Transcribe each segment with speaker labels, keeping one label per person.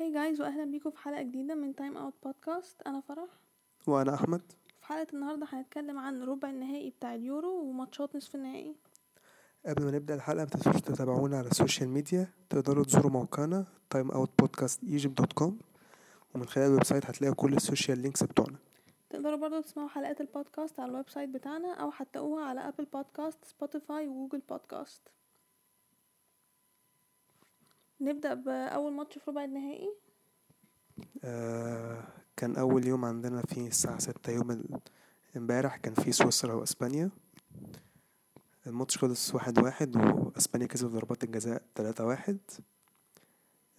Speaker 1: هاي جايز واهلا بيكم في حلقة جديدة من تايم اوت بودكاست انا فرح
Speaker 2: وانا احمد
Speaker 1: في حلقة النهاردة هنتكلم عن ربع النهائي بتاع اليورو وماتشات نصف النهائي
Speaker 2: قبل ما نبدا الحلقه ما تنسوش تتابعونا على السوشيال ميديا تقدروا تزوروا موقعنا timeoutpodcastegypt.com ومن خلال الويب سايت هتلاقوا كل السوشيال لينكس بتوعنا
Speaker 1: تقدروا برضو تسمعوا حلقات البودكاست على الويب سايت بتاعنا او هتلاقوها على ابل بودكاست سبوتيفاي وجوجل بودكاست نبدأ بأول ماتش في ربع النهائي
Speaker 2: آه كان اول يوم عندنا فيه الساعه 6 يوم ال- امبارح كان فيه سويسرا واسبانيا الماتش خلص واحد واحد واسبانيا كسبت ضربات الجزاء تلاتة واحد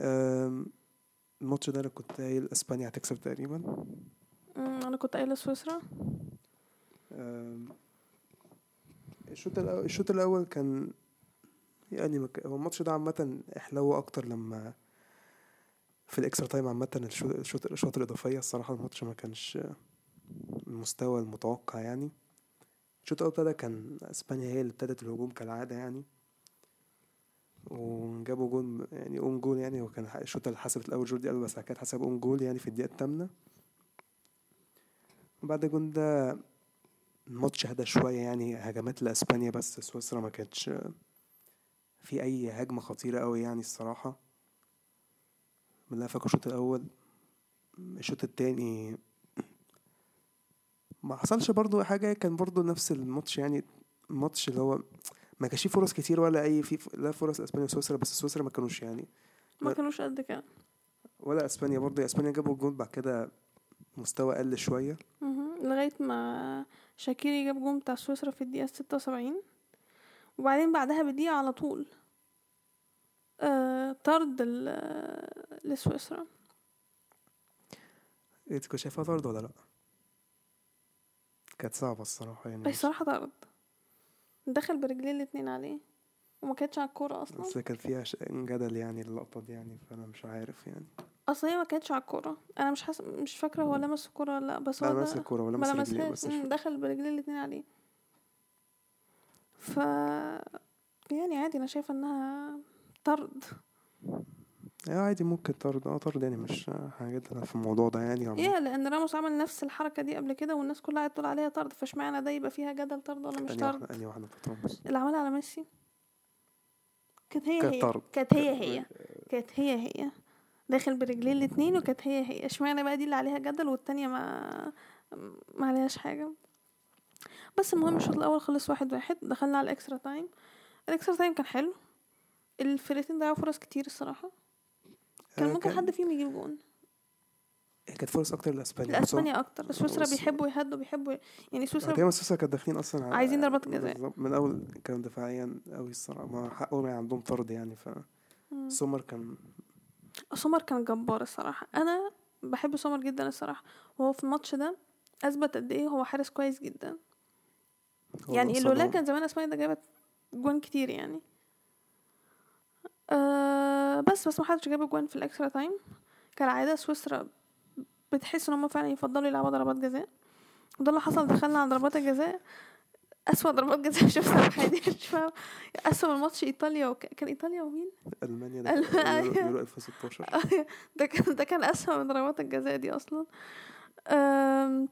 Speaker 2: آم، الماتش ده انا كنت قايل اسبانيا هتكسب تقريبا
Speaker 1: أمم، انا كنت قايلة سويسرا
Speaker 2: أم، الشوط الأول الشوط الأول كان يعني ما ك- هو الماتش ده عامة حلو أكتر لما في الإكسترا تايم عامة الشو- الشوط الأشواط الإضافية الصراحة الماتش ما كانش المستوى المتوقع يعني الشوط الأول ابتدى كان أسبانيا هي اللي ابتدت الهجوم كالعادة يعني وجابوا جون يعني اون جول يعني وكان الشوط اللي حسبت الأول جوردي ألبا بس كانت حسب اون جول يعني في الدقيقة الثامنة وبعد الجون ده الماتش هدى شوية يعني هجمات لأسبانيا بس سويسرا ما كانتش في أي هجمة خطيرة أوي يعني الصراحة من اللي أنا فاكره الشوط الأول الشوط التاني ما حصلش برضو حاجة كان برضو نفس الماتش يعني الماتش اللي هو ما كانش فيه فرص كتير ولا أي في لا فرص أسبانيا وسويسرا بس سويسرا ما كانوش يعني
Speaker 1: ما
Speaker 2: لا.
Speaker 1: كانوش قد كده
Speaker 2: ولا أسبانيا برضو أسبانيا جابوا الجول بعد كده مستوى قل شوية
Speaker 1: مهم. لغاية ما شاكيري جاب جون بتاع سويسرا في الدقيقة ستة وسبعين وبعدين بعدها بدقيقة على طول آه طرد ال- لسويسرا
Speaker 2: أنت كنت إيه، شايفها طرد ولا لأ؟ كانت صعبة الصراحة يعني
Speaker 1: بس صراحة طرد دخل برجلين الاتنين عليه وما كانتش على الكورة أصلا
Speaker 2: بس كان فيها ش- جدل يعني اللقطة دي يعني فأنا مش عارف يعني
Speaker 1: أصلا هي ما كانتش على الكورة أنا مش حاسة مش فاكرة هو لمس الكورة ولا لأ بس
Speaker 2: لا
Speaker 1: هو
Speaker 2: لمس
Speaker 1: ده-
Speaker 2: الكورة ولا
Speaker 1: ما
Speaker 2: لمس رجليه
Speaker 1: لمسهاش
Speaker 2: بس مش
Speaker 1: مم، دخل برجلين الاتنين عليه ف يعني عادي أنا شايفة إنها طرد
Speaker 2: آه عادي ممكن طرد اه طرد يعني مش حاجات في الموضوع ده يعني عموماً.
Speaker 1: ايه لان راموس عمل نفس الحركه دي قبل كده والناس كلها قاعده تقول عليها طرد فاشمعنى ده يبقى فيها جدل طرد ولا مش
Speaker 2: أنهي واحدة
Speaker 1: طرد
Speaker 2: أنهي واحدة بتترمس
Speaker 1: اللي عملها على ميسي كانت هي
Speaker 2: كانت
Speaker 1: هي
Speaker 2: طرد.
Speaker 1: كانت هي
Speaker 2: آه،
Speaker 1: هي كانت هي هي داخل برجلين الاتنين وكانت هي هي اشمعنى بقى دي اللي عليها جدل والتانية ما ما عليهاش حاجة بس المهم الشوط الأول خلص واحد واحد دخلنا على الإكسترا تايم الإكسترا تايم كان حلو الفرقتين ضيعوا فرص كتير الصراحة كان
Speaker 2: آه،
Speaker 1: ممكن
Speaker 2: كان-
Speaker 1: حد فيهم يجيب جون
Speaker 2: كانت فرص أكتر لأسبانيا بس هو-
Speaker 1: الأسبانيا أكتر سويسرا
Speaker 2: بس-
Speaker 1: بيحبوا يهدوا بيحبوا يعني سويسرا
Speaker 2: دايما سويسرا كانت داخلين أصلا على-
Speaker 1: عايزين ضربات جزاء.
Speaker 2: بالظبط، من أول كانوا دفاعيا أوي الصراحة ما حقهم يعني عندهم طرد يعني ف
Speaker 1: مم.
Speaker 2: سومر كان
Speaker 1: سمر كان جبار الصراحة أنا بحب سمر جدا الصراحة وهو في الماتش ده أثبت قد إيه هو حارس كويس جدا
Speaker 2: هو
Speaker 1: يعني
Speaker 2: نقص
Speaker 1: لولا
Speaker 2: أدوار.
Speaker 1: كان زمان أسبانيا ده جابت جوان كتير يعني أه بس بس محدش جاب جوان في الإكسترا تايم كالعادة سويسرا بتحس إن هما فعلا يفضلوا يلعبوا ضربات جزاء وده اللي حصل دخلنا على ضربات الجزاء أسوأ ضربات جزاء شفتها في حياتي مش فاهم أسوأ ماتش إيطاليا وك... كان إيطاليا ومين؟
Speaker 2: ألمانيا
Speaker 1: ألم-
Speaker 2: ده يورو-
Speaker 1: أيوة.
Speaker 2: يورو 2016
Speaker 1: ده كان ده كان أسوأ من ضربات الجزاء دي أصلا أم،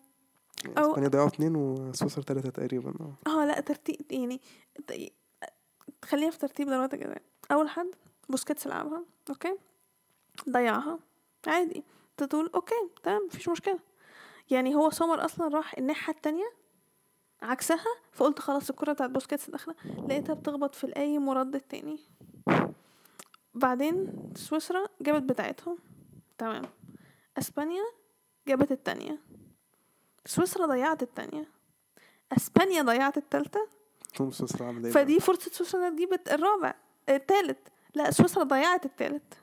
Speaker 1: أو-
Speaker 2: أسبانيا ضيعوا اتنين وسويسرا تلاتة تقريبا اه
Speaker 1: اه لا ترتيب يعني ت- خلينا في ترتيب ضربات الجزاء أول حد بوسكيتس لعبها أوكي ضيعها عادي تقول أوكي تمام مفيش مشكلة يعني هو سمر أصلا راح الناحية التانية عكسها فقلت خلاص الكرة بتاعت بوسكيتس داخلة لقيتها بتخبط في القايم وردت تاني بعدين سويسرا جابت بتاعتهم تمام اسبانيا جابت التانية سويسرا ضيعت التانية اسبانيا ضيعت التالتة
Speaker 2: توم سويسرا عامل ايه
Speaker 1: فدي فرصة سويسرا انها تجيب الرابع التالت لا سويسرا ضيعت التالت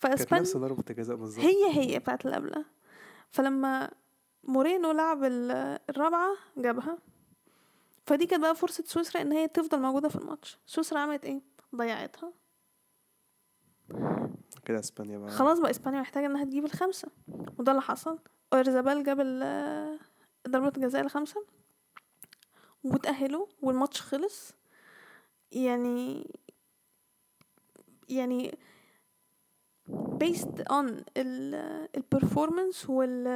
Speaker 2: كانت نفس
Speaker 1: فاسبانيا
Speaker 2: ضربة الجزاء بالظبط
Speaker 1: هي هي بتاعت اللي قبلها فلما مورينو لعب ال- الرابعة جابها فدي كانت بقى فرصة سويسرا ان هي تفضل موجودة في الماتش سويسرا عملت ايه ضيعتها
Speaker 2: كده اسبانيا بقى
Speaker 1: خلاص بقى اسبانيا محتاجه انها تجيب الخمسه وده اللي حصل ايرزابال جاب ال- ضربة الجزاء الخامسة وتأهلوا والماتش خلص يعني يعني based on البرفورمانس وال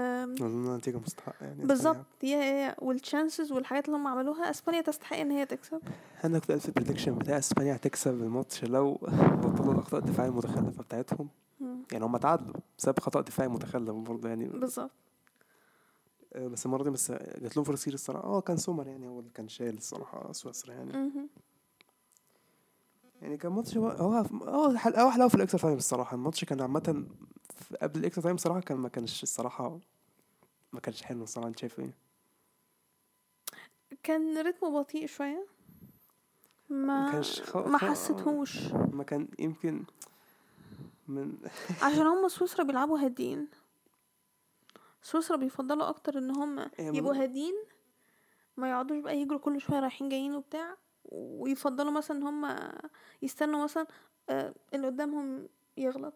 Speaker 2: اظن نتيجه مستحقه يعني
Speaker 1: بالظبط يا يا يا والتشانسز والحاجات اللي هم عملوها اسبانيا تستحق ان هي تكسب
Speaker 2: انا كنت قلت البريدكشن بتاع اسبانيا هتكسب الماتش لو بطلوا الاخطاء الدفاعيه المتخلفه بتاعتهم
Speaker 1: مم.
Speaker 2: يعني هم تعادلوا بسبب خطا دفاعي متخلف برضه يعني
Speaker 1: بالظبط
Speaker 2: آه، بس المره دي بس جات لهم فرص كتير الصراحه اه كان سومر يعني هو اللي كان شايل الصراحه سويسرا يعني
Speaker 1: مهم.
Speaker 2: يعني كان ماتش هو هو هو حل- هو حلاوه في الاكسترا تايم الصراحه الماتش كان عامه في- قبل الاكسترا تايم صراحه كان ما كانش الصراحه ما كانش حلو الصراحه انت شايف ايه
Speaker 1: كان رتمه بطيء شويه
Speaker 2: ما
Speaker 1: ما
Speaker 2: كانش خ-
Speaker 1: ما
Speaker 2: خ-
Speaker 1: حسيتهوش
Speaker 2: ما كان يمكن من
Speaker 1: عشان هم سويسرا بيلعبوا هادين سويسرا بيفضلوا اكتر ان هم
Speaker 2: هي م-
Speaker 1: يبقوا هادين ما يقعدوش بقى يجروا كل شويه رايحين جايين وبتاع ويفضلوا مثلا ان هم يستنوا مثلا آه، اللي قدامهم يغلط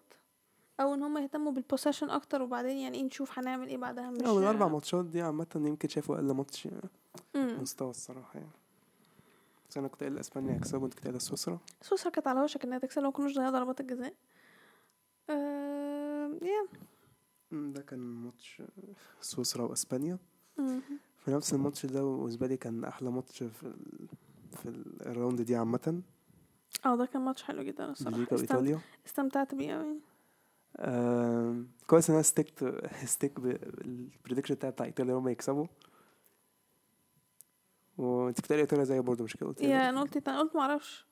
Speaker 1: او ان هم يهتموا بالبوسيشن اكتر وبعدين يعني ايه نشوف هنعمل ايه بعدها مش
Speaker 2: اول اربع آه، ماتشات دي عامه يمكن شايفه اقل ماتش
Speaker 1: مم.
Speaker 2: مستوى الصراحه يعني بس انا كنت قايل اسبانيا هيكسبوا وانت كنت قايل سويسرا
Speaker 1: سويسرا كانت على وشك انها تكسب لو كناش ضيعنا ضربات الجزاء آه، يا
Speaker 2: أمم، ده كان ماتش سويسرا واسبانيا
Speaker 1: مم.
Speaker 2: في نفس الماتش ده بالنسبه لي كان احلى ماتش في ال... في ال- الراوند دي عامه
Speaker 1: اه ده كان ماتش حلو جدا الصراحه
Speaker 2: بلجيكا
Speaker 1: استمت-
Speaker 2: وايطاليا
Speaker 1: استمتعت بيه قوي
Speaker 2: آم، كويس ان انا ستيكت ستيك بالبريدكشن بتاعي بتاع ايطاليا هم يكسبوا وانت بتقلي ايطاليا زي برضه مش كده قلت إيه؟
Speaker 1: يا انا إيه، قلت انا قلت معرفش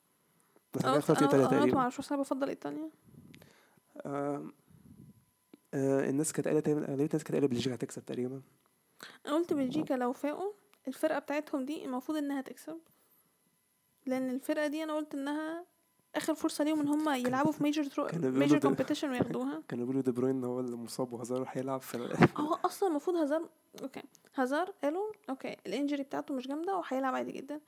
Speaker 2: بس
Speaker 1: انا
Speaker 2: انا
Speaker 1: قلت
Speaker 2: يعني. اخترت
Speaker 1: انا
Speaker 2: ايطاليا
Speaker 1: قلت- أنا قلت
Speaker 2: تقريبا
Speaker 1: معرفش بس انا بفضل ايطاليا
Speaker 2: آم، آه، الناس كانت قايله تقريبا اغلبيه الناس كانت قايله بلجيكا هتكسب تقريبا
Speaker 1: انا قلت بلجيكا لو فاقوا الفرقه بتاعتهم دي المفروض انها تكسب لان الفرقه دي انا قلت انها اخر فرصه ليهم ان هم يلعبوا في ميجر ترو
Speaker 2: كانوا بيقولوا
Speaker 1: ميجر
Speaker 2: ده.
Speaker 1: كومبيتيشن وياخدوها
Speaker 2: كانوا بيقولوا دي بروين هو اللي مصاب وهازارد هيلعب في ال-
Speaker 1: هو اصلا المفروض هازار اوكي هازار قالوا اوكي الانجري بتاعته مش جامده وهيلعب عادي جدا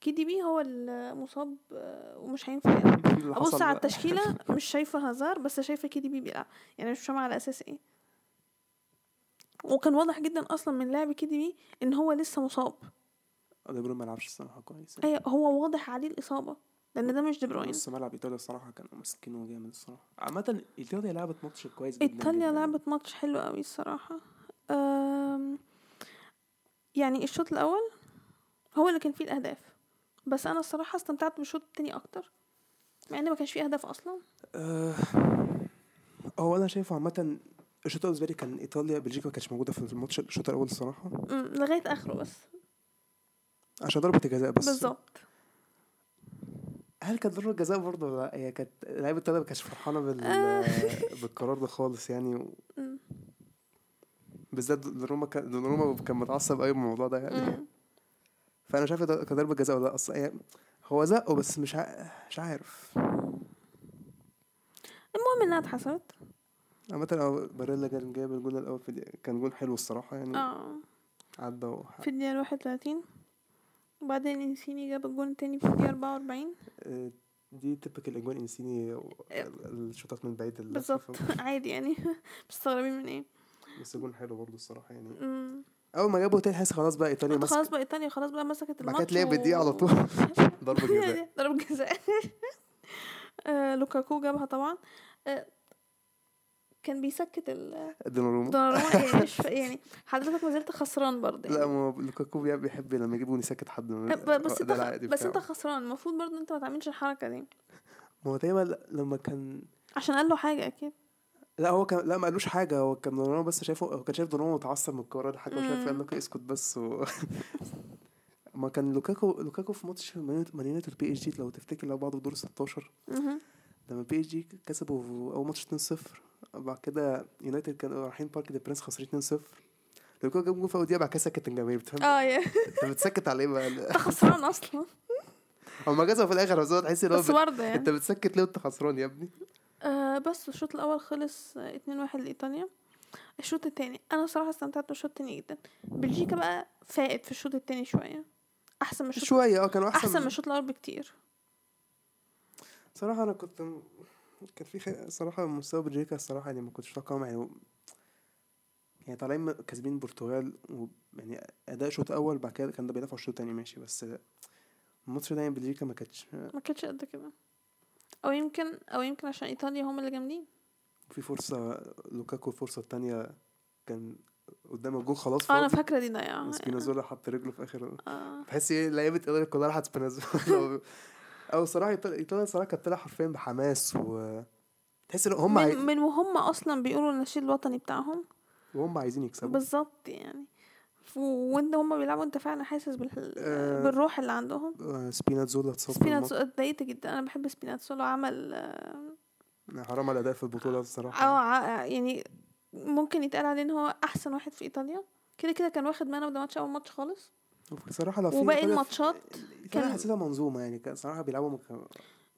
Speaker 1: كي دي بي هو المصاب آه، ومش هينفع يلعب
Speaker 2: اللي حصل
Speaker 1: ابص على
Speaker 2: بقى.
Speaker 1: التشكيله مش شايفه هازار بس شايفه كي دي بي بيلعب يعني مش فاهمه على اساس ايه وكان واضح جدا اصلا من لعب كي دي بي ان هو لسه مصاب
Speaker 2: آه، دي بروين ما لعبش الصراحه كويس يعني.
Speaker 1: اي هو واضح عليه الاصابه لان ده مش أيوة، دي بروين
Speaker 2: نص ملعب ايطاليا الصراحه كانوا ماسكينه جامد الصراحه عامه ايطاليا لعبت ماتش كويس جدا
Speaker 1: ايطاليا
Speaker 2: جداً.
Speaker 1: لعبت ماتش حلو قوي الصراحه أم، يعني الشوط الاول هو اللي كان فيه الاهداف بس انا الصراحه استمتعت بالشوط التاني اكتر مع ان ما كانش فيه اهداف اصلا
Speaker 2: آه، هو انا شايفه عامه الشوط الاول بالنسبه لي كان ايطاليا بلجيكا ما كانتش موجوده في الماتش الشوط الاول الصراحه
Speaker 1: أم، لغايه اخره بس
Speaker 2: عشان ضربه الجزاء بس
Speaker 1: بالظبط
Speaker 2: هل كانت ضربه جزاء برضه ولا لا هي كانت لعيبه ايطاليا ما كانتش فرحانه بال... بالقرار ده خالص يعني و...
Speaker 1: أم،
Speaker 2: بالذات دوناروما كان دوناروما كان متعصب قوي من الموضوع ده يعني
Speaker 1: أم.
Speaker 2: فانا شايف ده كان ضربه جزاء ولا لا اصلا يعني هو زقه بس مش ع... مش عارف
Speaker 1: المهم انها اتحسبت
Speaker 2: عامة هو باريلا كان جايب الجول الأول في الدقيقة- كان جول حلو الصراحة يعني
Speaker 1: اه
Speaker 2: عدى وح-
Speaker 1: في الدقيقة الواحد وتلاتين وبعدين انسيني جاب الجون التاني في الدقيقة أربعة وأربعين
Speaker 2: آه، دي تبك الأجوان إنسيني و-
Speaker 1: إيه.
Speaker 2: الشوطات من بعيد اللفة
Speaker 1: بالظبط
Speaker 2: فوق.
Speaker 1: عادي يعني مستغربين من ايه
Speaker 2: بس جول حلو برضه الصراحة يعني
Speaker 1: أمم.
Speaker 2: أول ما جابوا تاني حاسس خلاص بقى إيطاليا
Speaker 1: قلت خلاص
Speaker 2: مسك
Speaker 1: بقى ايطاليا خلاص بقى مسكت
Speaker 2: بعد
Speaker 1: الماتش
Speaker 2: كده تلاقي بالدقيقة على
Speaker 1: و-
Speaker 2: طول ضربة جزاء
Speaker 1: يعني ضرب جزاء آه، لوكاكو جابها طبعا آه، كان بيسكت ال
Speaker 2: دوناروما
Speaker 1: دوناروما يعني مش فا- يعني حضرتك ما زلت خسران برضه
Speaker 2: لا
Speaker 1: يعني.
Speaker 2: ما هو لوكاكو بيع- بيحب لما يجيبوني ساكت حد من-
Speaker 1: آه، ب- بس
Speaker 2: ده
Speaker 1: انت خ-
Speaker 2: العادي
Speaker 1: بس انت
Speaker 2: بتاعه.
Speaker 1: خسران المفروض برضه انت ما تعملش الحركة دي
Speaker 2: ما هو دايما ل- لما كان
Speaker 1: عشان قال له حاجة اكيد
Speaker 2: لا هو كان لا ما قالوش حاجة هو كان دوناروما بس شايفه هو كان شايف دوناروما متعصب من الكورة دي حاجة مش عارف
Speaker 1: مم.
Speaker 2: قال لك اسكت بس و... ما كان لوكاكو لوكاكو في ماتش مان يونايتد بي اس جي لو تفتكر لو بعض في دور 16
Speaker 1: مهم.
Speaker 2: لما بي اس جي كسبوا في اول ماتش 2-0 بعد كده يونايتد كانوا رايحين بارك دي برنس خسرين 2-0 لو كانوا جابوا جول في اول دقيقه بعد كده سكت الجماهير بتفهم
Speaker 1: اه يا
Speaker 2: انت بتسكت على ايه بقى
Speaker 1: انت خسران اصلا
Speaker 2: هما جازوا في الاخر بس هو تحس ان هو
Speaker 1: بس
Speaker 2: بت-
Speaker 1: برضه يعني
Speaker 2: انت بتسكت ليه وانت خسران يا ابني
Speaker 1: آه بس الشوط الأول خلص آه، اتنين واحد لإيطاليا الشوط التاني أنا صراحة استمتعت بالشوط التاني جدا بلجيكا بقى فائت في الشوط التاني شوية أحسن من الشوط
Speaker 2: شويه اه كانوا احسن
Speaker 1: أحسن من الشوط الأول بكتير
Speaker 2: صراحه انا كنت م- كان في خي... صراحه مستوى بلجيكا الصراحه يعني ما كنتش متوقعهم يعني يعني طالعين م- كاسبين البرتغال و... يعني اداء شوط اول بعد كده كان ده بيدافعوا الشوط التاني ماشي بس الماتش ده يعني بلجيكا ما كانتش
Speaker 1: ما كانتش قد كده أو يمكن أو يمكن عشان إيطاليا هم اللي جامدين
Speaker 2: في فرصه لوكاكو الفرصه الثانيه كان قدامه الجول خلاص
Speaker 1: اه انا
Speaker 2: فاضي.
Speaker 1: فاكره دي ضيعه
Speaker 2: سبينازولا حط رجله في اخر
Speaker 1: اه
Speaker 2: بحس ايه لعيبه ايطاليا كلها راحت سبينازولا او صراحه إيطاليا- ايطاليا صراحه كانت طالعه حرفيا بحماس و تحس ان هم
Speaker 1: من,
Speaker 2: عاي...
Speaker 1: من وهم اصلا بيقولوا النشيد الوطني بتاعهم
Speaker 2: وهم عايزين يكسبوا
Speaker 1: بالظبط يعني ف- وانت هم بيلعبوا انت فعلا حاسس بال...
Speaker 2: آه.
Speaker 1: بالروح اللي عندهم
Speaker 2: آه، سبينازولا اتصاب في الماتش.
Speaker 1: سبيناتسولا اتضايقت جدا انا بحب سبيناتسولا عمل آه،
Speaker 2: حرام على الاداء في البطوله
Speaker 1: اه
Speaker 2: الصراحه
Speaker 1: ع- يعني ممكن يتقال عليه ان هو احسن واحد في ايطاليا كده كده كان واخد مان اوف ذا ماتش اول ماتش خالص
Speaker 2: بصراحه لو في
Speaker 1: وباقي
Speaker 2: إيطاليا-
Speaker 1: الماتشات
Speaker 2: كان
Speaker 1: كان-
Speaker 2: حسيتها منظومه يعني كان صراحه بيلعبوا مك...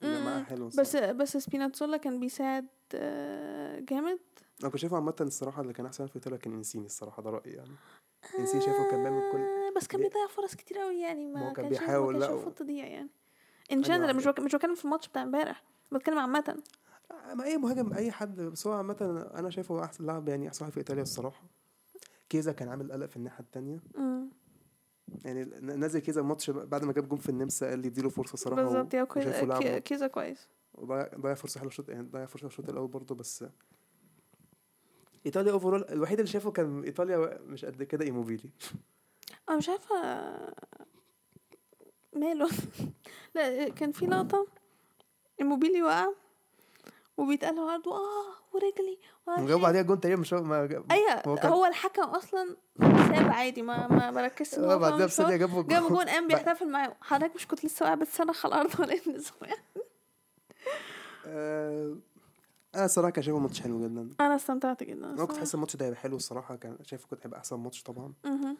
Speaker 2: جماعه
Speaker 1: مم.
Speaker 2: حلوه
Speaker 1: بس بس سبيناتسولا كان بيساعد آه، جامد
Speaker 2: انا كنت شايفه عامه الصراحه اللي كان احسن في ايطاليا كان انسيني الصراحه ده رايي يعني انسيني شايفه كان بيعمل كل
Speaker 1: آه، بس كان
Speaker 2: بي-
Speaker 1: بيضيع فرص كتير قوي يعني
Speaker 2: ما هو
Speaker 1: ما
Speaker 2: كان
Speaker 1: كانش ما
Speaker 2: بيحاول،
Speaker 1: كانش
Speaker 2: لا،
Speaker 1: المفروض تضيع يعني ان
Speaker 2: أيوة.
Speaker 1: جنرال مش بك- مش بتكلم في الماتش بتاع امبارح بتكلم عامه
Speaker 2: ما اي مهاجم اي حد بس هو عامه انا شايفه هو احسن لاعب يعني احسن واحد في ايطاليا الصراحه كيزا كان عامل قلق في الناحيه التانية
Speaker 1: مم.
Speaker 2: يعني ن- نزل كيزا الماتش بعد ما جاب جون في النمسا قال لي اديله فرصه صراحه
Speaker 1: بالظبط يا كويس آه،
Speaker 2: وشايفه لاعب
Speaker 1: كي-
Speaker 2: مت-
Speaker 1: كيزا كويس
Speaker 2: وضيع ضيع فرصه حلوه الشوط يعني ضيع فرصه في الشوط الاول برضه بس ايطاليا اوفرول الوحيد اللي شافه كان ايطاليا مش قد كده ايموبيلي
Speaker 1: انا مش عارفه ماله لا كان في لقطه الموبيلي وقع وبيتقال له عرض اه ورجلي
Speaker 2: وجاب بعديها جون تقريبا مش هو- ما جاب-
Speaker 1: ايوه
Speaker 2: هو
Speaker 1: هو,
Speaker 2: كان-
Speaker 1: هو الحكم اصلا ساب عادي ما ما بركزش إن هو
Speaker 2: هو
Speaker 1: فاهم
Speaker 2: بعدها
Speaker 1: مش
Speaker 2: بثانيه
Speaker 1: فاهم.
Speaker 2: جابوا
Speaker 1: جاب جون قام
Speaker 2: بع-
Speaker 1: بيحتفل معاه حضرتك مش كنت لسه واقع بتسرح على الارض ولا ايه النظام يعني؟
Speaker 2: آه، انا الصراحه كان شايفه ماتش حلو جدا
Speaker 1: انا استمتعت جدا
Speaker 2: انا كنت
Speaker 1: الصراحة.
Speaker 2: حاسس الماتش ده هيبقى حلو الصراحه كان شايفه كنت هيبقى احسن ماتش طبعا
Speaker 1: مهم.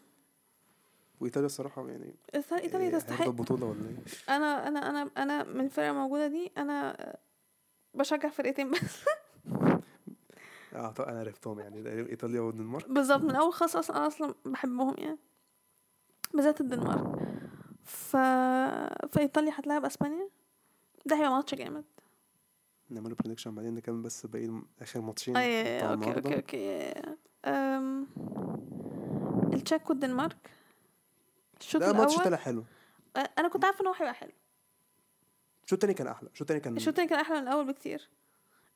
Speaker 2: وايطاليا الصراحه يعني
Speaker 1: إيطاليا- ايطاليا
Speaker 2: إيه، هياخدوا
Speaker 1: تستحق
Speaker 2: البطوله ولا ايه
Speaker 1: انا انا انا انا من الفرقه الموجوده دي انا بشجع فرقتين بس
Speaker 2: اه طبعا انا عرفتهم يعني ده ايطاليا والدنمارك
Speaker 1: بالظبط من اول خالص اصلا انا اصلا بحبهم يعني بالذات الدنمارك ف فايطاليا هتلاعب اسبانيا ده هيبقى ماتش جامد
Speaker 2: نعملوا بريدكشن بعدين نكمل بس باقي الم- اخر ماتشين
Speaker 1: اي
Speaker 2: بتوع
Speaker 1: اوكي
Speaker 2: النهارده
Speaker 1: اوكي اوكي أم... التشيك والدنمارك الشوط
Speaker 2: ده ماتش
Speaker 1: الاول
Speaker 2: طلع حلو
Speaker 1: أ- انا كنت عارفه ان هو هيبقى حلو
Speaker 2: الشوط التاني كان احلى الشوط التاني كان
Speaker 1: الشوط التاني كان احلى من الاول بكتير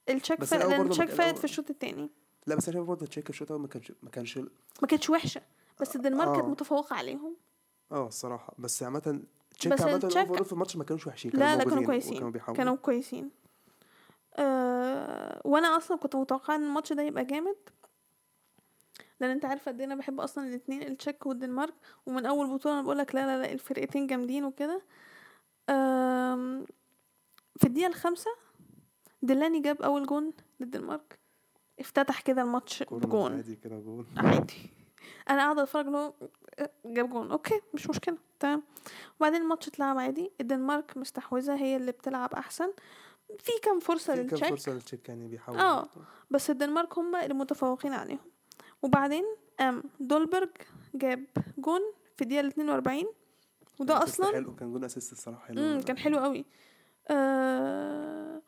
Speaker 1: التشيك
Speaker 2: بس
Speaker 1: فاق
Speaker 2: الأول
Speaker 1: لان
Speaker 2: برضه
Speaker 1: التشيك
Speaker 2: كان-
Speaker 1: فاقت
Speaker 2: الأول-
Speaker 1: في الشوط التاني
Speaker 2: لا بس انا شايف برضه تشيك الشوط الأول ما كانش ما كانش
Speaker 1: ما كانتش وحشه بس الدنمارك كانت
Speaker 2: آه.
Speaker 1: متفوقه عليهم
Speaker 2: اه الصراحه بس عامه تشيك
Speaker 1: بس
Speaker 2: عامه
Speaker 1: التشيك-
Speaker 2: overall في الماتش ما كانوش وحشين
Speaker 1: لا لا كانوا
Speaker 2: موجودين
Speaker 1: كويسين
Speaker 2: وكانوا بيحاولوا
Speaker 1: كانوا كويسين أه وانا اصلا كنت متوقعه ان الماتش ده يبقى جامد لان انت عارفه قد إيه انا بحب اصلا الاثنين التشيك والدنمارك ومن اول بطوله انا بقولك لا لا لا الفرقتين جامدين وكده آم، في الدقيقه الخامسه ديلاني جاب اول جون للدنمارك افتتح كده الماتش
Speaker 2: كورنر
Speaker 1: بجون
Speaker 2: عادي كده جون
Speaker 1: عادي انا قاعده اتفرج اللي هو آه، جاب جون اوكي مش مشكله تمام وبعدين الماتش اتلعب عادي الدنمارك مستحوذه هي اللي بتلعب احسن في كام فرصه
Speaker 2: كان
Speaker 1: للتشيك
Speaker 2: فرصه للتشيك يعني بيحاول
Speaker 1: آه. بس الدنمارك هم المتفوقين عليهم وبعدين ام دولبرج جاب جون في الدقيقه ال 42 وده
Speaker 2: كان assist
Speaker 1: اصلا
Speaker 2: حلو كان جون اسيست الصراحه حلو
Speaker 1: امم كان حلو قوي آه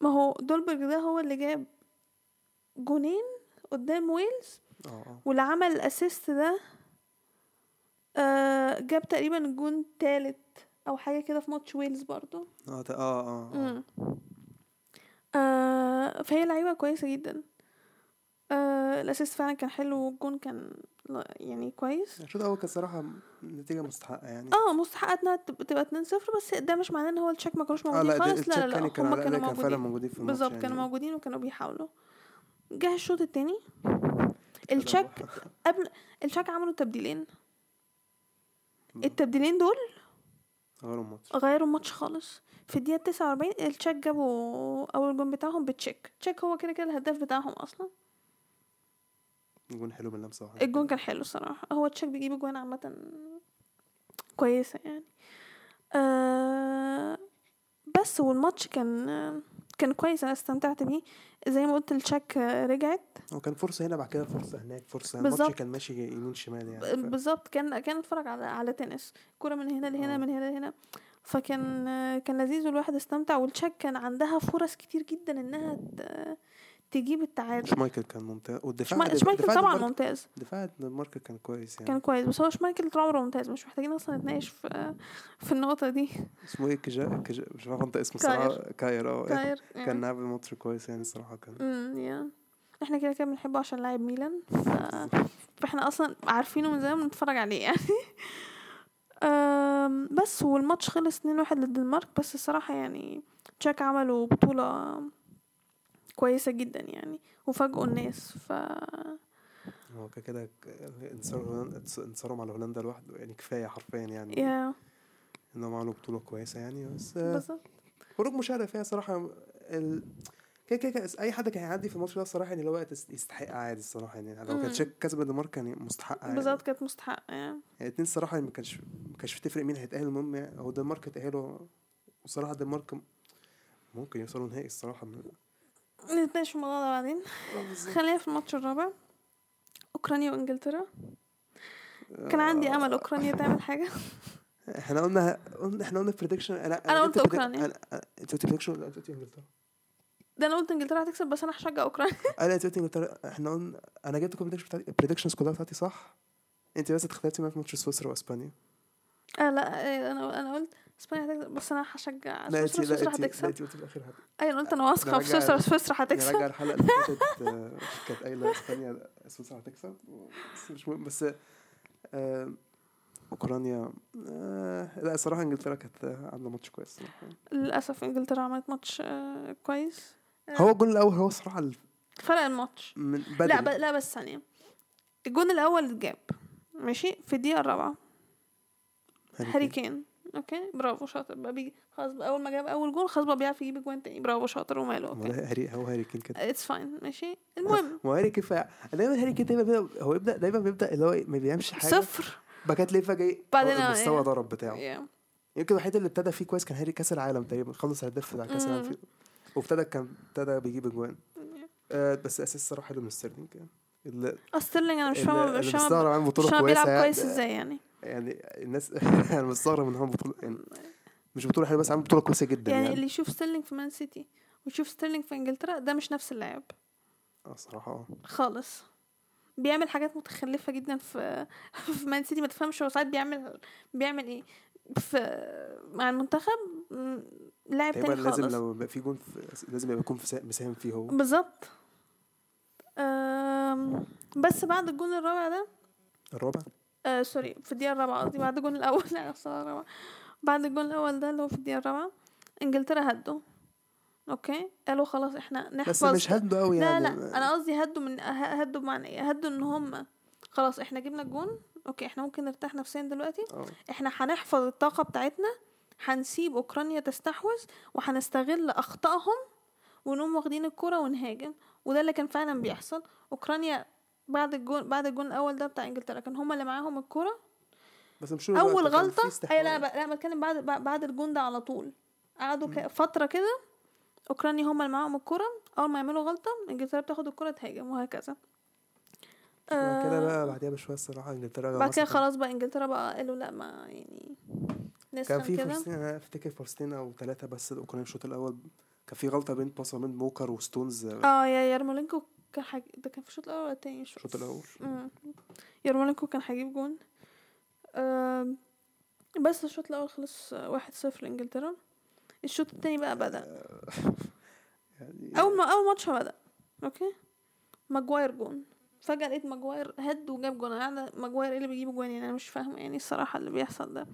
Speaker 1: ما هو دولبرج ده هو اللي جاب جونين قدام ويلز
Speaker 2: اه اه
Speaker 1: واللي عمل الاسيست ده آه جاب تقريبا الجون التالت او حاجه كده في ماتش ويلز برضو
Speaker 2: اه ت- اه اه, آه.
Speaker 1: مم. آه فهي لعيبه كويسه جدا آه الاسيست فعلا كان حلو والجون كان لا- يعني كويس
Speaker 2: الشوط الاول كان صراحه نتيجه مستحقه يعني
Speaker 1: اه مستحقه انها تب- تبقى 2-0 بس ده مش معناه ان هو التشيك ما
Speaker 2: آه،
Speaker 1: كانوش موجودين خالص لا لا لا
Speaker 2: التشيك يعني كان
Speaker 1: هم
Speaker 2: على
Speaker 1: كانوا
Speaker 2: الأقل كان فعلا
Speaker 1: موجودين
Speaker 2: موجودين في الماتش
Speaker 1: بالظبط كانوا
Speaker 2: يعني.
Speaker 1: موجودين وكانوا بيحاولوا جه الشوط التاني التشيك قبل التشيك عملوا تبديلين التبديلين دول
Speaker 2: غيروا الماتش
Speaker 1: غيروا الماتش خالص في الدقيقة 49 التشيك جابوا أول جون بتاعهم بتشيك تشيك هو كده كده الهداف بتاعهم أصلا
Speaker 2: جون حلو من لمسه واحده
Speaker 1: الجون كان حلو الصراحة هو تشيك بيجيب جوان عامة كويسة يعني آه بس والماتش كان كان كويس أنا استمتعت بيه زي ما قلت التشيك رجعت
Speaker 2: هو كان فرصه هنا بعد كده فرصه هناك فرصه الماتش
Speaker 1: بالظبط.
Speaker 2: كان ماشي يمين شمال يعني ف-
Speaker 1: بالظبط آه، كان كان اتفرج على على تنس كرة من هنا لهنا
Speaker 2: آه.
Speaker 1: من هنا لهنا فكان كان لذيذ والواحد استمتع والتشيك كان عندها فرص كتير جدا انها ت- تجيب التعادل
Speaker 2: شمايكل كان ممتاز والدفاع
Speaker 1: شما- شمايكل
Speaker 2: دفاع
Speaker 1: طبعا
Speaker 2: دنمارك-
Speaker 1: ممتاز
Speaker 2: دفاع دنمارك كان كويس يعني
Speaker 1: كان كويس بس هو شمايكل طول عمره ممتاز مش محتاجين اصلا نتناقش في في النقطه دي
Speaker 2: اسمه ايه كجا كجا مش عارف انت اسمه
Speaker 1: كاير.
Speaker 2: الصراحه كاير اه
Speaker 1: طاير
Speaker 2: كان لعب الماتش كويس يعني الصراحه كان
Speaker 1: امم يا احنا كده كده بنحبه عشان لاعب ميلان ف- فاحنا اصلا عارفينه من زمان بنتفرج عليه يعني أم، بس والماتش خلص 2-1 للدنمارك بس الصراحة يعني تشاك عملوا بطولة كويسة جدا يعني وفاجئوا الناس ف
Speaker 2: هو كده كده ك- انتصار هولندا انتصارهم على هولندا لوحده يعني كفايه حرفيا يعني
Speaker 1: يا
Speaker 2: انهم عملوا بطوله كويسه يعني بس آه،
Speaker 1: بالظبط
Speaker 2: خروج مشرف فيها صراحه ال... كده كده كده اي حد كان هيعدي في الماتش ده الصراحه يعني اللي هو يتس- يستحق عادي الصراحه يعني لو
Speaker 1: مم.
Speaker 2: كانت تشيك كسب الدنمارك كان مستحق عادي
Speaker 1: بالظبط كانت مستحقة يعني
Speaker 2: يعني اتنين الصراحه يعني ما كانش ما كانش بتفرق مين هيتأهل المهم يعني هو الدنمارك اتأهلوا وصراحه الدنمارك م- ممكن يوصلوا نهائي الصراحه من...
Speaker 1: نتناقش في الموضوع ده بعدين خلينا في الماتش الرابع أوكرانيا وإنجلترا كان عندي
Speaker 2: آه.
Speaker 1: أمل أوكرانيا تعمل حاجة
Speaker 2: احنا آه، قلنا قلنا- احنا قلنا بريدكشن انا
Speaker 1: أنا قلت
Speaker 2: جبت predict-
Speaker 1: أوكرانيا.
Speaker 2: انا أنا- انت قلت بريدكشن ولا انت قلت انجلترا؟
Speaker 1: ده أنا قلت إنجلترا هتكسب بس أنا هشجع أوكرانيا
Speaker 2: انا انت قلت انجلترا احنا قلنا انا جبت كل predictions بتاعتي البريدكشنز كلها بتاعتي صح انت بس اتخلفتي معايا في ماتش سويسرا واسبانيا
Speaker 1: آه لا آه، انا انا قلت اسبانيا هتكسب بس انا هشجع
Speaker 2: لا انت
Speaker 1: سويسرا
Speaker 2: لا
Speaker 1: سويسرا
Speaker 2: انت لا
Speaker 1: هتكسب
Speaker 2: انت قلت في الاخر هت-
Speaker 1: ايوه انا قلت انا واثقه في
Speaker 2: نرجع
Speaker 1: سويسرا
Speaker 2: ال-
Speaker 1: سويسرا
Speaker 2: نرجع
Speaker 1: هتكسب
Speaker 2: الحلقه يعني اللي فاتت آه، كانت قايله اسبانيا سويسرا هتكسب بس مش مهم بس آه، اوكرانيا آه، لا الصراحه انجلترا كانت آه، عامله ماتش كويس الصراحة.
Speaker 1: للاسف انجلترا عملت ماتش آه، كويس آه،
Speaker 2: هو الجول الاول هو الصراحه ال-
Speaker 1: فرق الماتش
Speaker 2: من
Speaker 1: لا ب...
Speaker 2: بدري
Speaker 1: لا بس ثانيه الجون الاول اتجاب ماشي في الدقيقه الرابعه هاري كين اوكي برافو شاطر بقى بيجي خلاص بقى اول ما جاب اول جول خلاص بقى بيعرف يجيب جوان تاني برافو شاطر وماله اوكي
Speaker 2: ولا هاري هو هاري كين كده
Speaker 1: اتس فاين ماشي المهم
Speaker 2: ما هو هاري كين فا- دايما هاري كين دايما بيبدأ هو يبدا دايما بيبدا اللي هو إيه، ما بيعملش حاجه
Speaker 1: صفر
Speaker 2: باكات تلاقيه فجاه إيه،
Speaker 1: بعدين
Speaker 2: هو
Speaker 1: أنا-
Speaker 2: المستوى
Speaker 1: إيه.
Speaker 2: ضرب بتاعه
Speaker 1: Yeah.
Speaker 2: يمكن الوحيد اللي ابتدى فيه كويس كان هاري كاس العالم تقريبا خلص الهداف بتاع كاس العالم
Speaker 1: مم.
Speaker 2: فيه. وابتدى كان ابتدى بيجيب اجوان
Speaker 1: Yeah.
Speaker 2: آه بس اساس الصراحه حلو من ستيرلينج يعني اللي
Speaker 1: أصل آه، ستيرلينج انا مش
Speaker 2: اللي-
Speaker 1: فاهمه
Speaker 2: اللي
Speaker 1: مش فاهمه
Speaker 2: مستغرب عن
Speaker 1: مش
Speaker 2: بطوله
Speaker 1: فاهمه بيلعب
Speaker 2: كويسه
Speaker 1: كويس
Speaker 2: يعني,
Speaker 1: ازاي يعني
Speaker 2: يعني الناس انا مستغرب ان هو بطوله يعني مش بطوله حلوه بس عامل بطوله كويسه جدا
Speaker 1: يعني,
Speaker 2: يعني,
Speaker 1: اللي يشوف ستيرلينج في مان سيتي ويشوف ستيرلينج في انجلترا ده مش نفس اللاعب
Speaker 2: اه الصراحه اه
Speaker 1: خالص بيعمل حاجات متخلفة جدا في في مان سيتي ما تفهمش هو ساعات بيعمل بيعمل ايه في مع المنتخب م، لاعب
Speaker 2: تقريبا
Speaker 1: تاني
Speaker 2: لازم
Speaker 1: خالص
Speaker 2: لو يبقى في جون في- لازم يبقى يكون في سا- مساهم فيه هو
Speaker 1: بالظبط أم، بس بعد الجون الرابع ده
Speaker 2: الرابع
Speaker 1: آه سوري في الدقيقة الرابعة قصدي بعد الجون الأول لا الصراحة الرابعة بعد الجون الأول ده اللي هو في الدقيقة الرابعة انجلترا هدوا اوكي قالوا خلاص احنا
Speaker 2: بس
Speaker 1: نحفظ
Speaker 2: مش هدوا قوي
Speaker 1: لا
Speaker 2: يعني
Speaker 1: لا انا قصدي هدوا من ه- هدوا بمعنى ايه هدوا ان هم خلاص احنا جبنا الجون اوكي احنا ممكن نرتاح نفسيا دلوقتي
Speaker 2: اه
Speaker 1: احنا هنحفظ الطاقه بتاعتنا هنسيب اوكرانيا تستحوذ وهنستغل اخطائهم ونقوم واخدين الكرة ونهاجم وده اللي كان فعلا بيحصل اوكرانيا بعد الجون بعد الجون الاول ده بتاع انجلترا كان هم اللي معاهم الكرة
Speaker 2: بس مش
Speaker 1: اول غلطه اي لا ب- لا بتكلم بعد ب- بعد الجون ده على طول قعدوا ك- فتره كده اوكرانيا هم اللي معاهم الكره اول ما يعملوا غلطه انجلترا بتاخد الكره تهاجم وهكذا
Speaker 2: بعد كده
Speaker 1: آه،
Speaker 2: بقى بعدها بشويه الصراحه
Speaker 1: بعد
Speaker 2: انجلترا
Speaker 1: كده
Speaker 2: مثلا
Speaker 1: خلاص بقى انجلترا بقى قالوا لا ما يعني
Speaker 2: كان
Speaker 1: نسخن
Speaker 2: في
Speaker 1: كده
Speaker 2: فرصتين انا افتكر فرصتين او ثلاثه بس الاوكرانيين الشوط الاول كان في غلطه بين باصه من موكر وستونز آه،
Speaker 1: اه يا يرمولينكو كان حاج... ده كان في الشوط الاول ولا التاني مش
Speaker 2: الشوط الاول
Speaker 1: مم. يرمولينكو كان هيجيب جون آم، بس الشوط الاول خلص آه، واحد صفر لانجلترا الشوط التاني بقى بدأ
Speaker 2: آه، يعني
Speaker 1: اول ما اول ماتش بدأ اوكي ماجواير جون فجأة لقيت ماجواير هد وجاب جون انا قاعدة ماجواير ايه اللي بيجيب جون يعني انا مش فاهمة يعني الصراحة اللي بيحصل ده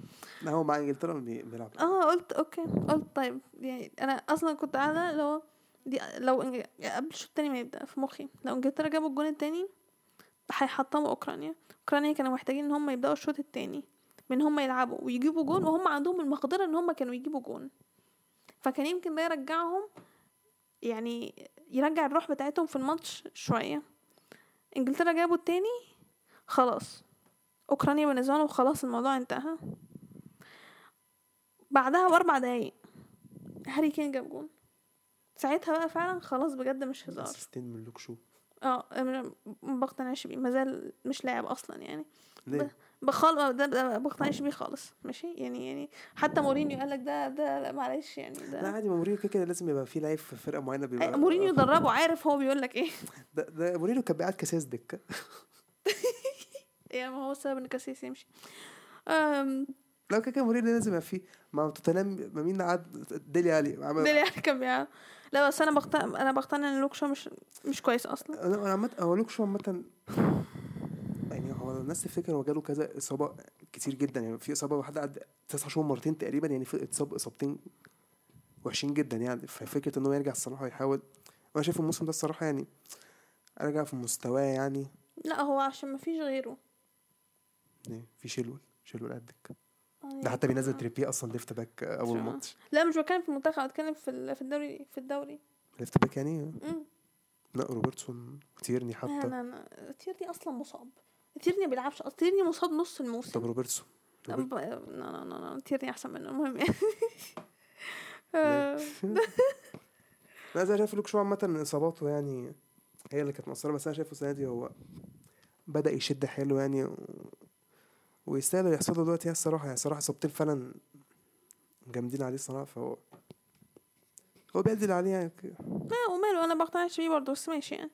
Speaker 2: لا هو مع انجلترا ما بي- بيلعب
Speaker 1: اه قلت اوكي قلت طيب يعني انا اصلا كنت قاعدة لو دي لو إنج- قبل الشوط التاني ما يبدأ في مخي لو انجلترا جابوا الجون التاني هيحطموا اوكرانيا اوكرانيا كانوا محتاجين ان هم يبدأوا الشوط التاني من هم يلعبوا ويجيبوا جون وهم عندهم المقدرة ان هم كانوا يجيبوا جون فكان يمكن ده يرجعهم يعني يرجع الروح بتاعتهم في الماتش شوية انجلترا جابوا التاني خلاص اوكرانيا بالنسبة لهم خلاص الموضوع انتهى بعدها باربع دقايق هاري كين جاب جون ساعتها بقى فعلا خلاص بجد مش هزار آه،
Speaker 2: اسيستين من لوك شو
Speaker 1: اه أنا ما بقتنعش بيه مازال مش لاعب اصلا يعني
Speaker 2: ليه؟
Speaker 1: بخال ده ما بقتنعش بيه خالص ماشي يعني يعني حتى مورينيو قال لك ده ده معلش يعني
Speaker 2: لا
Speaker 1: ده
Speaker 2: عادي ما مورينيو كده كده لازم يبقى في لعيب في فرقه معينه
Speaker 1: أي-
Speaker 2: بيبقى آه،
Speaker 1: مورينيو دربه عارف هو بيقول لك ايه
Speaker 2: ده, ده مورينيو كان بيقعد كاساس دكه
Speaker 1: يعني ما هو السبب ان كاسيس يمشي أم،
Speaker 2: لو كده كده مورينيو لازم يبقى فيه ما توتنهام ما مين قعد ديلي علي عمل
Speaker 1: ده اللي يعني كان بيعمل لا بس انا بقتنع انا بقتنع ان لوكشا مش مش كويس اصلا
Speaker 2: انا أنا عامه هو لوك شو عامه يعني هو الناس تفتكر هو جاله كذا اصابه كتير جدا يعني في اصابه واحده قعد تسع شهور مرتين تقريبا يعني في اتصاب اصابتين وحشين جدا يعني ففكره ان هو يرجع الصراحه ويحاول وانا شايف الموسم ده الصراحه يعني رجع في مستواه يعني
Speaker 1: لا هو عشان ما فيش غيره
Speaker 2: إيه، في شيلول شيلول قدك
Speaker 1: يعني
Speaker 2: ده حتى بينزل تريبيه اصلا ليفت باك اول
Speaker 1: آه.
Speaker 2: ماتش
Speaker 1: لا مش بتكلم في المنتخب أنا بتكلم في ال- في الدوري في الدوري
Speaker 2: ليفت باك يعني
Speaker 1: امم
Speaker 2: لا روبرتسون وتيرني
Speaker 1: لا
Speaker 2: حتى
Speaker 1: لا لا تيرني اصلا مصاب تيرني ما بيلعبش أصلاً. تيرني مصاب نص
Speaker 2: طب
Speaker 1: الموسم
Speaker 2: روبرتسون
Speaker 1: لا
Speaker 2: روبرت-
Speaker 1: ب... لا لا لا لا تيرني احسن منه المهم يعني
Speaker 2: ليه؟
Speaker 1: آه،
Speaker 2: لا زي ما شايف لوك شو عامة إصاباته يعني هي اللي كانت مقصرة بس أنا شايفه السنة دي هو بدأ يشد حيله يعني و... ويستاهل اللي يحصل له دلوقتي هي الصراحة يعني الصراحة إصابتين فعلا جامدين عليه الصراحة فهو هو بيأدي اللي عليه يعني
Speaker 1: لا وماله انا ما بقتنعش بيه برضه بس ماشي يعني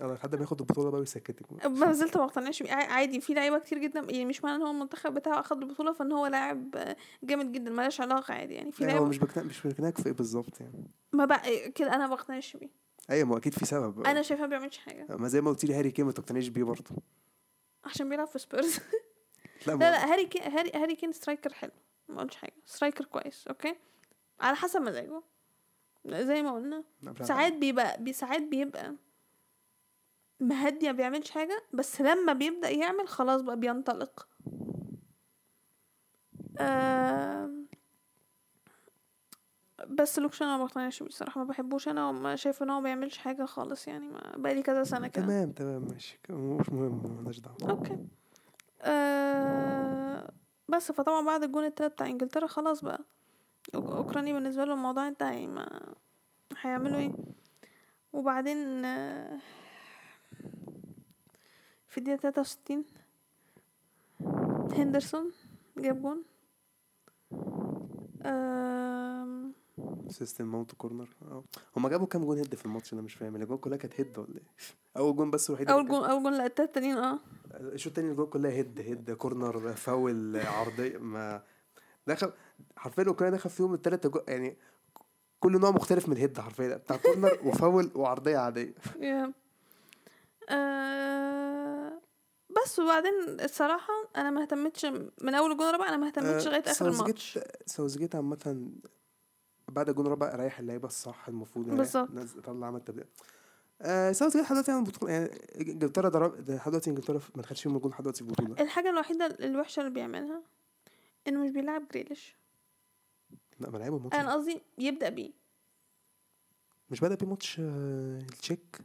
Speaker 2: على حد ما ياخد البطولة بقى ويسكتك بقى.
Speaker 1: ما زلت ما بقتنعش بيه ع- عادي في لعيبه كتير جدا يعني مش معنى ان هو المنتخب بتاعه اخد البطوله فان هو لاعب آه، جامد جدا ملهاش علاقه عادي يعني في
Speaker 2: يعني هو
Speaker 1: لعيبه
Speaker 2: مش بقناع مش بقناعك في إيه بالظبط يعني
Speaker 1: ما بقى كده انا ما بقتنعش بيه
Speaker 2: أيوة ما هو أكيد في سبب
Speaker 1: انا شايفاه ما بيعملش حاجه
Speaker 2: ما زي ما قلت لي هاري كين ما تقتنعش بيه برضه
Speaker 1: عشان بيلعب في سبيرز
Speaker 2: لا
Speaker 1: لا
Speaker 2: ما
Speaker 1: لا هاري كين هاري هاري كين سترايكر حلو ما قلتش حاجه سترايكر كويس اوكي على حسب مزاجه زي ما قلنا
Speaker 2: لا، بتاع-
Speaker 1: ساعات بيبقى بي- ساعات بيبقى مهدي ما بيعملش حاجه بس لما بيبدا يعمل خلاص بقى بينطلق آم، بس لوكش انا ما بقتنعش بيه الصراحه ما بحبوش انا وما شايف ان هو ما بيعملش حاجه خالص يعني ما بقالي كذا سنه كده
Speaker 2: تمام تمام ماشي مش مهم مالناش دعوة
Speaker 1: اوكي آه بس فطبعا بعد الجون التالت بتاع انجلترا خلاص بقى أوك- اوكرانيا بالنسبه له الموضوع انتهى يعني ما هيعملوا ايه وبعدين آه في الدقيقه 63 هندرسون جاب جون آم،
Speaker 2: سيستم ماونت كورنر اه هما جابوا كام جون هيد في الماتش ده مش فاهم الاجوان كلها كانت هيد ولا ايه اول جون بس الوحيد
Speaker 1: اول جون اول جون لا التالت التانيين اه
Speaker 2: الشوط التاني الجون كلها هيد هيد كورنر فاول عرضيه ما دخل حرفيا اوكرانيا دخل فيهم التلات أجو- يعني كل نوع مختلف من الهيد حرفيا بتاع كورنر وفاول وعرضيه عاديه
Speaker 1: يا. آه، بس وبعدين الصراحة أنا ما اهتمتش من أول جون ربع آه، أنا ما اهتمتش لغاية آخر الماتش
Speaker 2: ساوثجيت آه، عامة بعد الجون الرابع ريح اللعيبة الصح المفروض يريح.
Speaker 1: بالظبط.
Speaker 2: نزل- طلع عمل تبديل آه ساوثجيت لحد دلوقتي عامل بطولة يعني انجلترا ضرب لحد دلوقتي انجلترا ما خدش فيهم الجون لحد دلوقتي في البطولة
Speaker 1: الحاجة الوحيدة الوحشة اللي بيعملها إنه مش بيلعب جريليش
Speaker 2: لا ما لعبوا ماتش
Speaker 1: أنا قصدي يبدأ بيه
Speaker 2: مش بدأ بيه ماتش آه، التشيك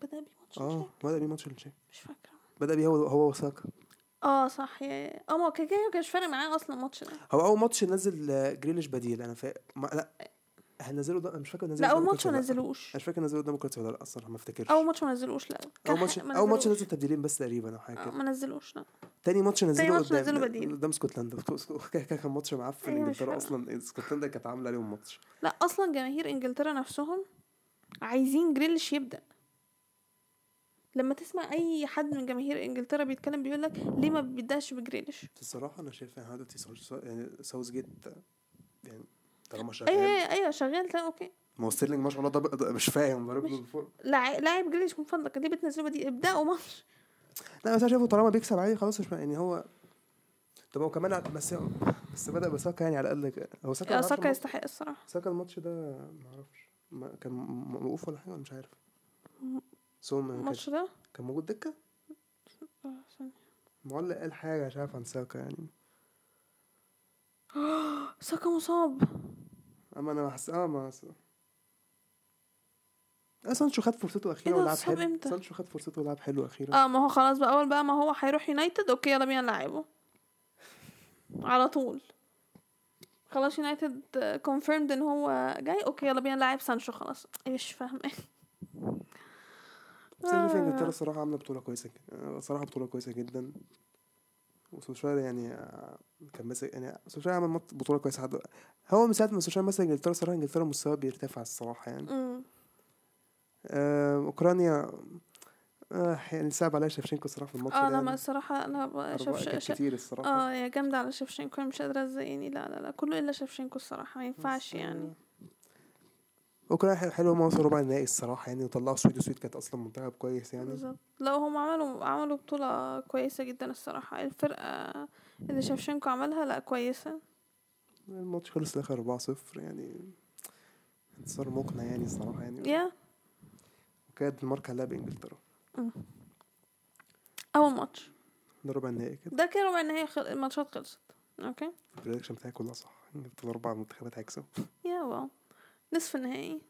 Speaker 1: بدأ بيه ماتش
Speaker 2: اه
Speaker 1: مش-
Speaker 2: بدأ بيه ماتش التشيك
Speaker 1: مش فاكرة
Speaker 2: بدأ بيه هو هو وساكا
Speaker 1: اه صح يا اه ما هو كده كده ما كانش فارق معاه اصلا الماتش ده
Speaker 2: هو اول ماتش نزل آه، جريليش بديل انا فا... ما... لا هنزله ده أنا مش فاكر نزله
Speaker 1: لا اول ماتش ما
Speaker 2: ما
Speaker 1: نزلوش
Speaker 2: مش فاكر نزله قدام كرواتيا ولا لا اصلا ما افتكرش
Speaker 1: اول ماتش ما نزلوش لا كان
Speaker 2: اول ماتش
Speaker 1: حاجة- ما
Speaker 2: اول ماتش
Speaker 1: نزلوش.
Speaker 2: نزل تبديلين بس تقريبا او حاجه
Speaker 1: آه،
Speaker 2: كده
Speaker 1: ما نزلوش لا
Speaker 2: تاني ماتش نزله
Speaker 1: ماتش
Speaker 2: قدام
Speaker 1: نزله بديل.
Speaker 2: قدام اسكتلندا كان كان ماتش معفن
Speaker 1: أيوة، مش
Speaker 2: انجلترا
Speaker 1: فاكرة.
Speaker 2: اصلا اسكتلندا كانت عامله عليهم ماتش
Speaker 1: لا اصلا جماهير انجلترا نفسهم عايزين جريليش يبدا لما تسمع اي حد من جماهير انجلترا بيتكلم بيقول لك ليه ما بيبداش بجريليش
Speaker 2: بس الصراحه انا شايف يعني دلوقتي ساوث- يعني ساوث جيت يعني طالما
Speaker 1: ايوه
Speaker 2: شغال
Speaker 1: ايوه ايوه شغال تمام اوكي
Speaker 2: ما هو ستيرلينج ما شاء الله ضرب- ضرب- مش فاهم ضرب
Speaker 1: مش-
Speaker 2: من فوق
Speaker 1: لاع- لاعب جريليش من فضلك ليه بتنزله بدي ابداوا ماتش
Speaker 2: لا بس انا شايفه طالما بيكسب عادي خلاص مش يعني هو طب هو كمان عد- بس بس بدا بساكا يعني على الاقل ك- هو ساكا
Speaker 1: يا
Speaker 2: عارف
Speaker 1: آه، ساكا
Speaker 2: الماتش-
Speaker 1: يستحق الصراحه
Speaker 2: ساكا الماتش ده ما اعرفش ما- كان م- موقوف ولا حاجه ولا مش عارف سوم ما كانش-
Speaker 1: الماتش ده
Speaker 2: كان موجود دكه
Speaker 1: آه، ثانية.
Speaker 2: معلق قال حاجه مش عارف عن ساكا يعني
Speaker 1: ساكا مصاب
Speaker 2: اما انا حاسس اه ما س- آه، سانشو خد فرصته اخيرا
Speaker 1: إيه ده،
Speaker 2: ولعب
Speaker 1: اتصاب
Speaker 2: حلو
Speaker 1: إمتى؟
Speaker 2: سانشو خد فرصته ولعب حلو اخيرا
Speaker 1: اه ما هو خلاص بقى اول بقى ما هو هيروح يونايتد اوكي يلا بينا نلعبه على طول خلاص يونايتد كونفيرمد ان هو جاي اوكي يلا بينا نلعب سانشو خلاص مش فاهمه
Speaker 2: بس انا شايف
Speaker 1: آه.
Speaker 2: آه، انجلترا الصراحه عامله بطوله كويسه جدا صراحه بطوله كويسه جدا وسولشاير يعني آه، كان ماسك يعني سولشاير عمل مط- بطوله كويسه حد هو من ساعه ما سولشاير مسك انجلترا صراحه انجلترا مستواه بيرتفع الصراحه يعني
Speaker 1: مم.
Speaker 2: آه، اوكرانيا آه يعني صعب عليا شفشنكو الصراحه في الماتش
Speaker 1: اه
Speaker 2: ده
Speaker 1: لا ما
Speaker 2: يعني.
Speaker 1: الصراحه انا ب-
Speaker 2: أربعة
Speaker 1: شف
Speaker 2: كانت
Speaker 1: شف
Speaker 2: كتير الصراحه
Speaker 1: اه يا جامده على شفشنكو أنا مش قادره ازايني لا لا لا كله الا شفشنكو الصراحه ما ينفعش
Speaker 2: بس، آه،
Speaker 1: يعني
Speaker 2: اوكرانيا حلو- حلو ما وصلوا ربع النهائي الصراحه يعني وطلعوا السويد والسويد كانت اصلا منتخب كويس يعني
Speaker 1: بالظبط لا هم عملوا عملوا بطولة كويسة جدا الصراحة الفرقة اللي شفشنكو عملها لا كويسة
Speaker 2: الماتش خلص الاخر 4-0 يعني انتصار مقنع يعني الصراحه يعني
Speaker 1: يا
Speaker 2: وكانت الدنمارك هتلاعب انجلترا
Speaker 1: أول ماتش
Speaker 2: ده ربع النهائي كده
Speaker 1: ده كده ربع النهائي خل... الماتشات خلصت اوكي
Speaker 2: البريدكشن بتاعي كلها صح انجلترا اربع منتخبات هيكسب
Speaker 1: يا واو نصف النهائي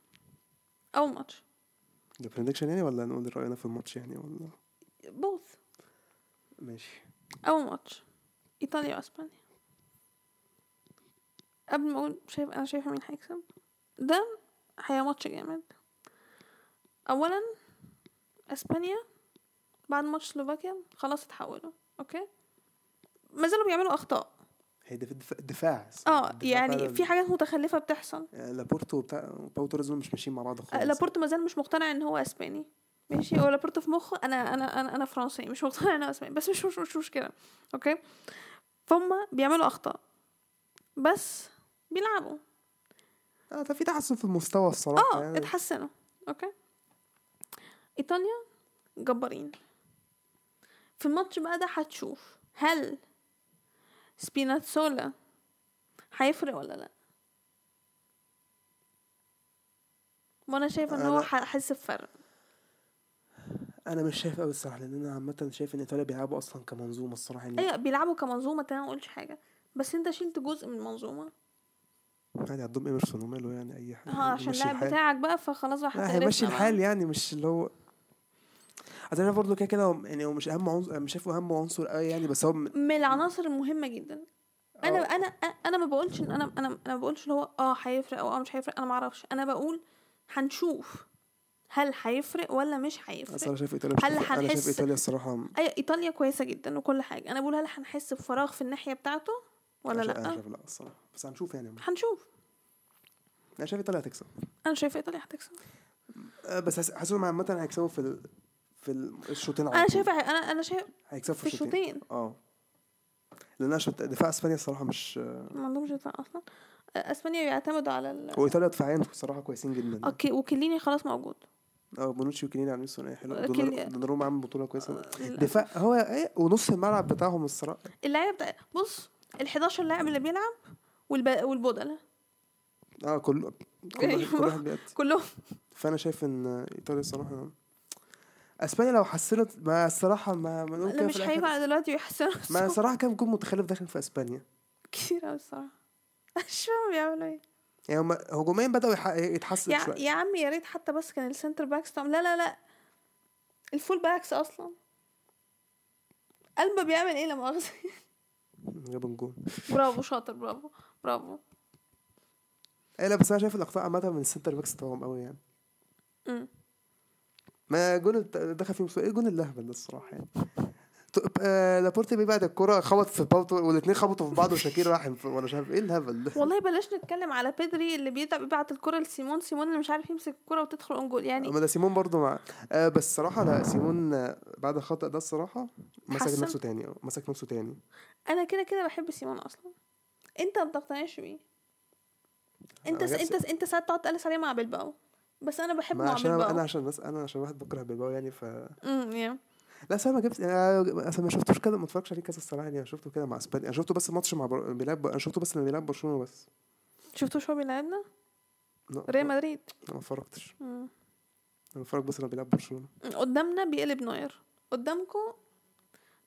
Speaker 1: أول ماتش
Speaker 2: ده بريدكشن يعني ولا نقول راينا في الماتش يعني ولا
Speaker 1: بوث
Speaker 2: ماشي
Speaker 1: أول ماتش إيطاليا وأسبانيا قبل ما أقول شايف أنا شايفة مين هيكسب ده هي ماتش جامد أولا أسبانيا بعد ماتش سلوفاكيا خلاص اتحولوا أوكي ما زالوا بيعملوا أخطاء
Speaker 2: هي دف- دف- دفاع الصراحة.
Speaker 1: اه
Speaker 2: الدفاع
Speaker 1: يعني
Speaker 2: فعلا-
Speaker 1: في حاجات متخلفة بتحصل
Speaker 2: آه، لابورتو بتاع باو توريز دول مش ماشيين مع بعض خالص
Speaker 1: آه، لابورتو ما زال مش مقتنع ان هو اسباني ماشي هو لابورتو في مخه انا انا انا انا فرنسي مش مقتنع ان هو اسباني بس مش مش مش مشكله اوكي فهم بيعملوا اخطاء بس بيلعبوا
Speaker 2: اه ده في تحسن في المستوى الصراحه
Speaker 1: اه
Speaker 2: يعني
Speaker 1: اتحسنوا اوكي ايطاليا جبارين في الماتش بقى ده هتشوف هل سبيناتسولا هيفرق ولا لا وانا شايفه ان هو
Speaker 2: أنا-
Speaker 1: هحس بفرق
Speaker 2: انا مش شايف قوي الصراحه لان انا عامه شايف ان ايطاليا بيلعبوا اصلا كمنظومه الصراحه يعني
Speaker 1: ايوه بيلعبوا كمنظومه تاني ما اقولش حاجه بس انت شلت جزء من المنظومه
Speaker 2: يعني عندهم ايمرسون وماله يعني اي حاجه
Speaker 1: اه عشان
Speaker 2: يمشي
Speaker 1: اللاعب
Speaker 2: الحال.
Speaker 1: بتاعك بقى فخلاص بقى
Speaker 2: لا
Speaker 1: هتقرفنا
Speaker 2: هيمشي
Speaker 1: بقى.
Speaker 2: الحال يعني مش اللي هو عشان برضه كده كده هو- يعني هو مش اهم عنصر مش شايفه اهم عنصر قوي يعني بس هو من...
Speaker 1: من العناصر المهمه جدا انا
Speaker 2: آه،
Speaker 1: انا انا ما بقولش ان انا انا انا ما بقولش اللي هو اه هيفرق او اه مش هيفرق انا ما اعرفش انا بقول هنشوف هل هيفرق ولا مش
Speaker 2: أنا
Speaker 1: هيفرق أيوة،
Speaker 2: الصراحه شايف ايطاليا مش
Speaker 1: هل
Speaker 2: مستوى- انا شايف
Speaker 1: هنحس-
Speaker 2: ايطاليا الصراحه
Speaker 1: اي ايطاليا كويسه جدا وكل حاجه انا بقول هل هنحس بفراغ في الناحيه بتاعته ولا
Speaker 2: أنا شايف- انا
Speaker 1: لا
Speaker 2: شايف لا الصراحه بس هنشوف يعني
Speaker 1: هنشوف
Speaker 2: انا شايف ايطاليا هتكسب
Speaker 1: انا شايفه ايطاليا هتكسب
Speaker 2: آه، بس حس- حاسسهم عامه هيكسبوا في ال... في ال- الشوطين على
Speaker 1: انا
Speaker 2: طول.
Speaker 1: شايفه انا انا شايفه
Speaker 2: هيكسبوا
Speaker 1: في الشوطين
Speaker 2: اه لان أنا شوط دفاع اسبانيا الصراحه مش آه،
Speaker 1: ما عندهمش دفاع اصلا اسبانيا بيعتمدوا على ال...
Speaker 2: وايطاليا دفاعيا الصراحه كويسين جدا
Speaker 1: اوكي وكيليني خلاص موجود
Speaker 2: اه بونوتشي وكينيني عاملين ثنائيه حلوه
Speaker 1: كيلي-
Speaker 2: دونار- دوناروما عامل بطوله كويسه
Speaker 1: للأسف.
Speaker 2: دفاع هو ايه ونص الملعب بتاعهم الصراحه
Speaker 1: اللعيبه بتاع بص ال 11 لاعب اللي بيلعب والب... والبودلة
Speaker 2: اه كل كل واحد- كل
Speaker 1: أيوة.
Speaker 2: واحد بيأدي
Speaker 1: كلهم
Speaker 2: فانا شايف ان ايطاليا الصراحه اسبانيا لو حسنت ما الصراحه ما ما نقول
Speaker 1: لا
Speaker 2: كده في
Speaker 1: مش
Speaker 2: الآخر.
Speaker 1: هينفع على دلوقتي يحسنوا
Speaker 2: ما
Speaker 1: الصوت
Speaker 2: الصراحه كان جون متخلف داخل في اسبانيا
Speaker 1: كتير قوي الصراحه مش فاهم بيعملوا ايه
Speaker 2: يعني هم هجوميا بداوا يح- يتحسنوا
Speaker 1: يا,
Speaker 2: شويه
Speaker 1: يا عم يا ريت حتى بس كان السنتر باكس طعم. لا لا لا الفول باكس اصلا قلبه بيعمل ايه لما اخذ
Speaker 2: جاب جون
Speaker 1: برافو شاطر برافو برافو
Speaker 2: ايه لا بس انا شايف الاخطاء عامه من السنتر باكس بتاعهم قوي يعني
Speaker 1: مم.
Speaker 2: ما جون الت- دخل فيهم سؤال ايه جون اللهبل ده الصراحه يعني ت- آه، لابورتي بيبعت الكرة خبط في بالتو والاثنين خبطوا في بعض وشاكير راح في- ولا مش عارف ايه الهبل ده
Speaker 1: والله بلاش نتكلم على بيدري اللي بيتعب بيبعت الكره لسيمون سيمون اللي مش عارف يمسك الكره وتدخل اون جول يعني
Speaker 2: ما ده سيمون برضه مع آه بس صراحة لا سيمون آه، بعد الخطأ ده الصراحة مسك
Speaker 1: اتحسن؟
Speaker 2: نفسه تاني آه، مسك نفسه تاني
Speaker 1: انا كده كده بحب سيمون اصلا انت ما بتقتنعش بيه انت
Speaker 2: أنا
Speaker 1: س...
Speaker 2: جت
Speaker 1: انت س... انت ساعات تقعد تقلس عليه مع بلباو بس انا بحبه
Speaker 2: ما
Speaker 1: مع
Speaker 2: عشان انا
Speaker 1: بلباو
Speaker 2: أنا عشان الناس انا عشان واحد بكره بيلباو يعني ف
Speaker 1: امم يا
Speaker 2: لا أصل انا ما جبت انا أصل ما شفتوش كده ما اتفرجش عليه كذا الصراحه يعني أنا شفته كده مع اسبانيا انا شفته بس ماتش مع بر... بيلعب انا شفته بس لما بيلعب برشلونه بس
Speaker 1: شفتوا شو بيلعبنا
Speaker 2: لا،
Speaker 1: ريال مدريد
Speaker 2: أنا ما اتفرجتش
Speaker 1: مم.
Speaker 2: انا بتفرج بس لما بيلعب برشلونه
Speaker 1: قدامنا بيقلب نوير قدامكم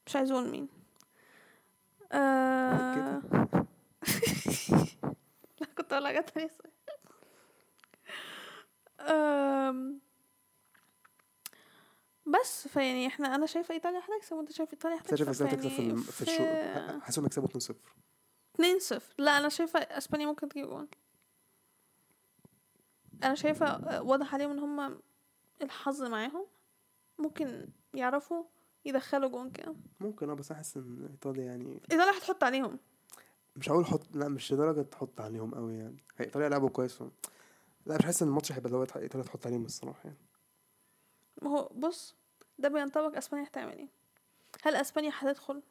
Speaker 1: مش عايز اقول مين آه... لا كنت اقول حاجه تانية صحيح. آم، بس فيعني احنا انا شايفه ايطاليا هتكسب وانت شايف ايطاليا
Speaker 2: بس انا شايف
Speaker 1: هتكسب
Speaker 2: اسبانيا تكسب في
Speaker 1: فيعني
Speaker 2: الم- في الشو
Speaker 1: في-
Speaker 2: حاسسهم يكسبوا 2-0
Speaker 1: اتنين صفر لا انا شايفه اسبانيا ممكن تجيب جون انا شايفه آه، واضح عليهم ان هم الحظ معاهم ممكن يعرفوا يدخلوا جون كده
Speaker 2: ممكن اه بس احس ان ايطاليا يعني
Speaker 1: ايطاليا هتحط عليهم
Speaker 2: مش هقول حط لا مش لدرجه تحط عليهم قوي يعني هي ايطاليا لعبوا كويس فاهم؟ لا مش حاسس ان الماتش هيبقى اللي هو ايطاليا تحط عليهم الصراحه يعني
Speaker 1: ما هو بص ده بينطبق اسبانيا هتعمل ايه هل اسبانيا هتدخل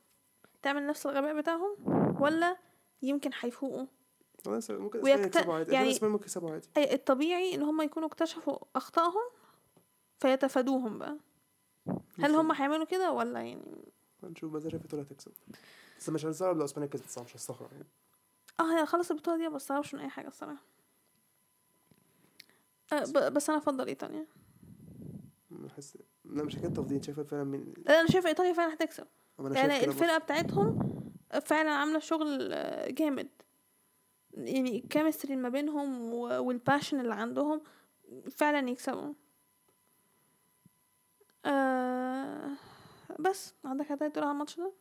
Speaker 1: تعمل نفس الغباء بتاعهم ولا يمكن هيفوقوا
Speaker 2: والله س- ممكن
Speaker 1: ويكت-
Speaker 2: اسبانيا يكسبوا عادي
Speaker 1: يعني-
Speaker 2: يعني اسبانيا ممكن يكسبوا عادي
Speaker 1: أي الطبيعي ان هم يكونوا اكتشفوا اخطائهم فيتفادوهم بقى هل هم هيعملوا كده ولا يعني
Speaker 2: هنشوف بس أنا شايف ايطاليا هتكسب بس مش هنستغرب لو اسبانيا كسبت صح مش هستغرب يعني
Speaker 1: اه هي خلاص البطوله دي ما بستغربش من اي حاجه الصراحه آه ب- بس انا افضل ايطاليا
Speaker 2: حاسس لا مش حكايه تفضيل شايفه فعلا مين
Speaker 1: لا، انا شايفه ايطاليا فعلا هتكسب
Speaker 2: أما انا شايف
Speaker 1: يعني
Speaker 2: كده برضه.
Speaker 1: الفرقه بتاعتهم فعلا عامله شغل آه، جامد يعني الكيمستري ما بينهم و- والباشن اللي عندهم فعلا يكسبوا آه بس عندك حاجه تقول على الماتش ده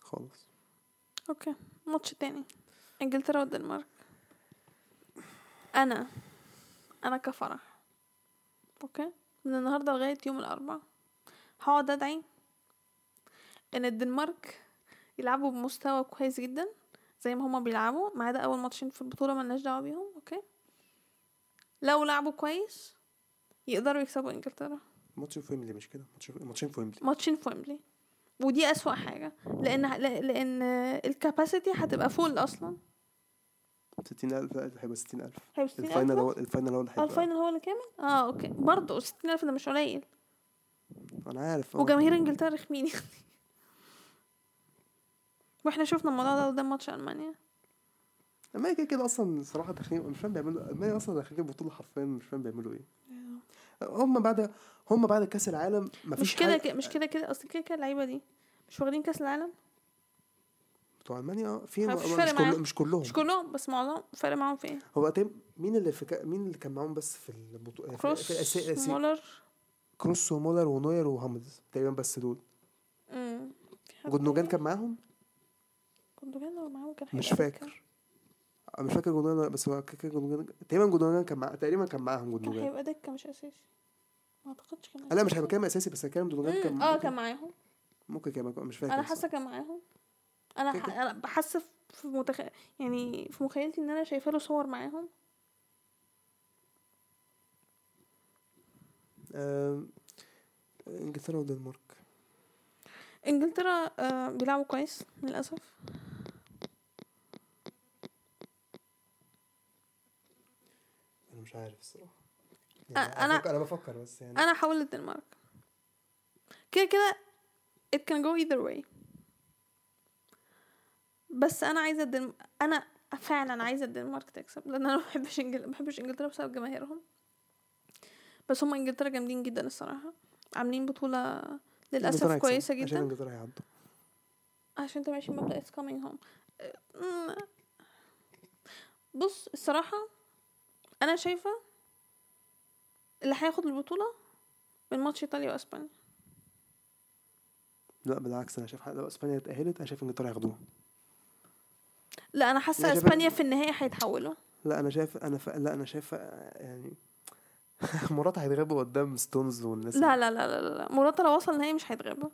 Speaker 2: خالص
Speaker 1: اوكي ماتش تاني انجلترا والدنمارك انا انا كفرح اوكي من النهارده لغايه يوم الاربعاء هقعد ادعي ان الدنمارك يلعبوا بمستوى كويس جدا زي ما هما بيلعبوا ما عدا اول ماتشين في البطوله ملناش دعوه بيهم اوكي لو لعبوا كويس يقدروا يكسبوا انجلترا
Speaker 2: ماتش في ويمبلي مش كده ماتش ماتشين في ويمبلي
Speaker 1: ماتشين في ويمبلي ودي اسوأ حاجه لان لان الكاباسيتي هتبقى فول اصلا
Speaker 2: 60000 لا، هيبقى 60000
Speaker 1: هيبقى 60,000
Speaker 2: الفاينل هو الفاينل هو اللي
Speaker 1: اه
Speaker 2: هيبقى
Speaker 1: الفاينل هو اللي كامل اه اوكي برضه 60000 ده مش قليل
Speaker 2: انا عارف اه
Speaker 1: وجماهير انجلترا رخمين يعني واحنا شفنا الموضوع ده قدام ماتش المانيا
Speaker 2: المانيا كده كده اصلا صراحه داخلين مش فاهم بيعملوا المانيا اصلا داخلين البطوله حرفيا مش فاهم بيعملوا ايه هم بعد هم بعد كاس العالم مفيش
Speaker 1: أيوه. مش كده
Speaker 2: حاجة-
Speaker 1: كده مش كده كده اصل كده كده اللعيبه دي مش واخدين كاس العالم
Speaker 2: بتوع المانيا اه في
Speaker 1: مفيش
Speaker 2: مش,
Speaker 1: فرق معاهم.
Speaker 2: كل... مش كلهم
Speaker 1: مش كلهم بس معظم فرق معاهم في ايه
Speaker 2: هو تيم مين اللي في كا... مين اللي كان معاهم بس في البطوله في, إيه؟
Speaker 1: كروس
Speaker 2: في أسي... أسي...
Speaker 1: مولر
Speaker 2: كروس ومولر ونوير وهامز تقريبا بس دول
Speaker 1: امم في حد
Speaker 2: جندوجان
Speaker 1: تاني؟
Speaker 2: كان معاهم
Speaker 1: أيوة. جندوجان لو معاهم كان
Speaker 2: مش
Speaker 1: هيبقى قد كام؟
Speaker 2: فاكر أنا مش فاكر جندوجان ولا- بس هو كده كده جندوجان تقريبا جندوجان كان مع... تقريبا كان معاهم
Speaker 1: كان
Speaker 2: جندوجان
Speaker 1: هيبقى دكه مش اساسي ما اعتقدش كان
Speaker 2: لا مش
Speaker 1: هيبقى
Speaker 2: هيبقى كلام اساسي بس كلام جندوجان
Speaker 1: أساسي.
Speaker 2: كان
Speaker 1: مم، اه
Speaker 2: ممكن-
Speaker 1: كان معاهم
Speaker 2: ممكن كان معاهم، مش فاكر
Speaker 1: انا
Speaker 2: الصراحة.
Speaker 1: حاسه كان معاهم انا
Speaker 2: كده
Speaker 1: ح...
Speaker 2: كده.
Speaker 1: انا بحس في متخ... يعني في مخيلتي ان انا شايفه له صور معاهم
Speaker 2: آم، انجلترا والدنمارك
Speaker 1: انجلترا آه بيلعبوا كويس للاسف
Speaker 2: انا مش عارف الصراحه
Speaker 1: أ- أنا-
Speaker 2: بفكر- انا بفكر بس يعني
Speaker 1: انا هحاول الدنمارك كده كده it can go either way بس انا عايزه الدنم... انا فعلا عايزه الدنمارك تكسب لان انا ما بحبش انجل... ما بحبش انجلترا بسبب جماهيرهم بس هم انجلترا جامدين جدا الصراحه عاملين بطوله
Speaker 2: إنجلترا
Speaker 1: للاسف
Speaker 2: هيكسبوا،
Speaker 1: كويسه
Speaker 2: عشان
Speaker 1: جدا
Speaker 2: انجلترا هيعدوا
Speaker 1: عشان انت ماشي بمبدأ it's coming home أم، بص الصراحة أنا شايفة اللي هياخد البطولة من ماتش إيطاليا وأسبانيا
Speaker 2: لا بالعكس انا شايف حق- لو اسبانيا اتاهلت انا شايف انجلترا هياخدوها
Speaker 1: لا أنا حاسة
Speaker 2: أنا شايفة-
Speaker 1: أسبانيا في النهاية هيتحولوا
Speaker 2: لا انا شايف انا ف... لا انا شايف آه، يعني مرات هيتغابوا قدام ستونز والناس
Speaker 1: لا لا لا لا لا موراتا لو وصل النهائي مش هيتغاب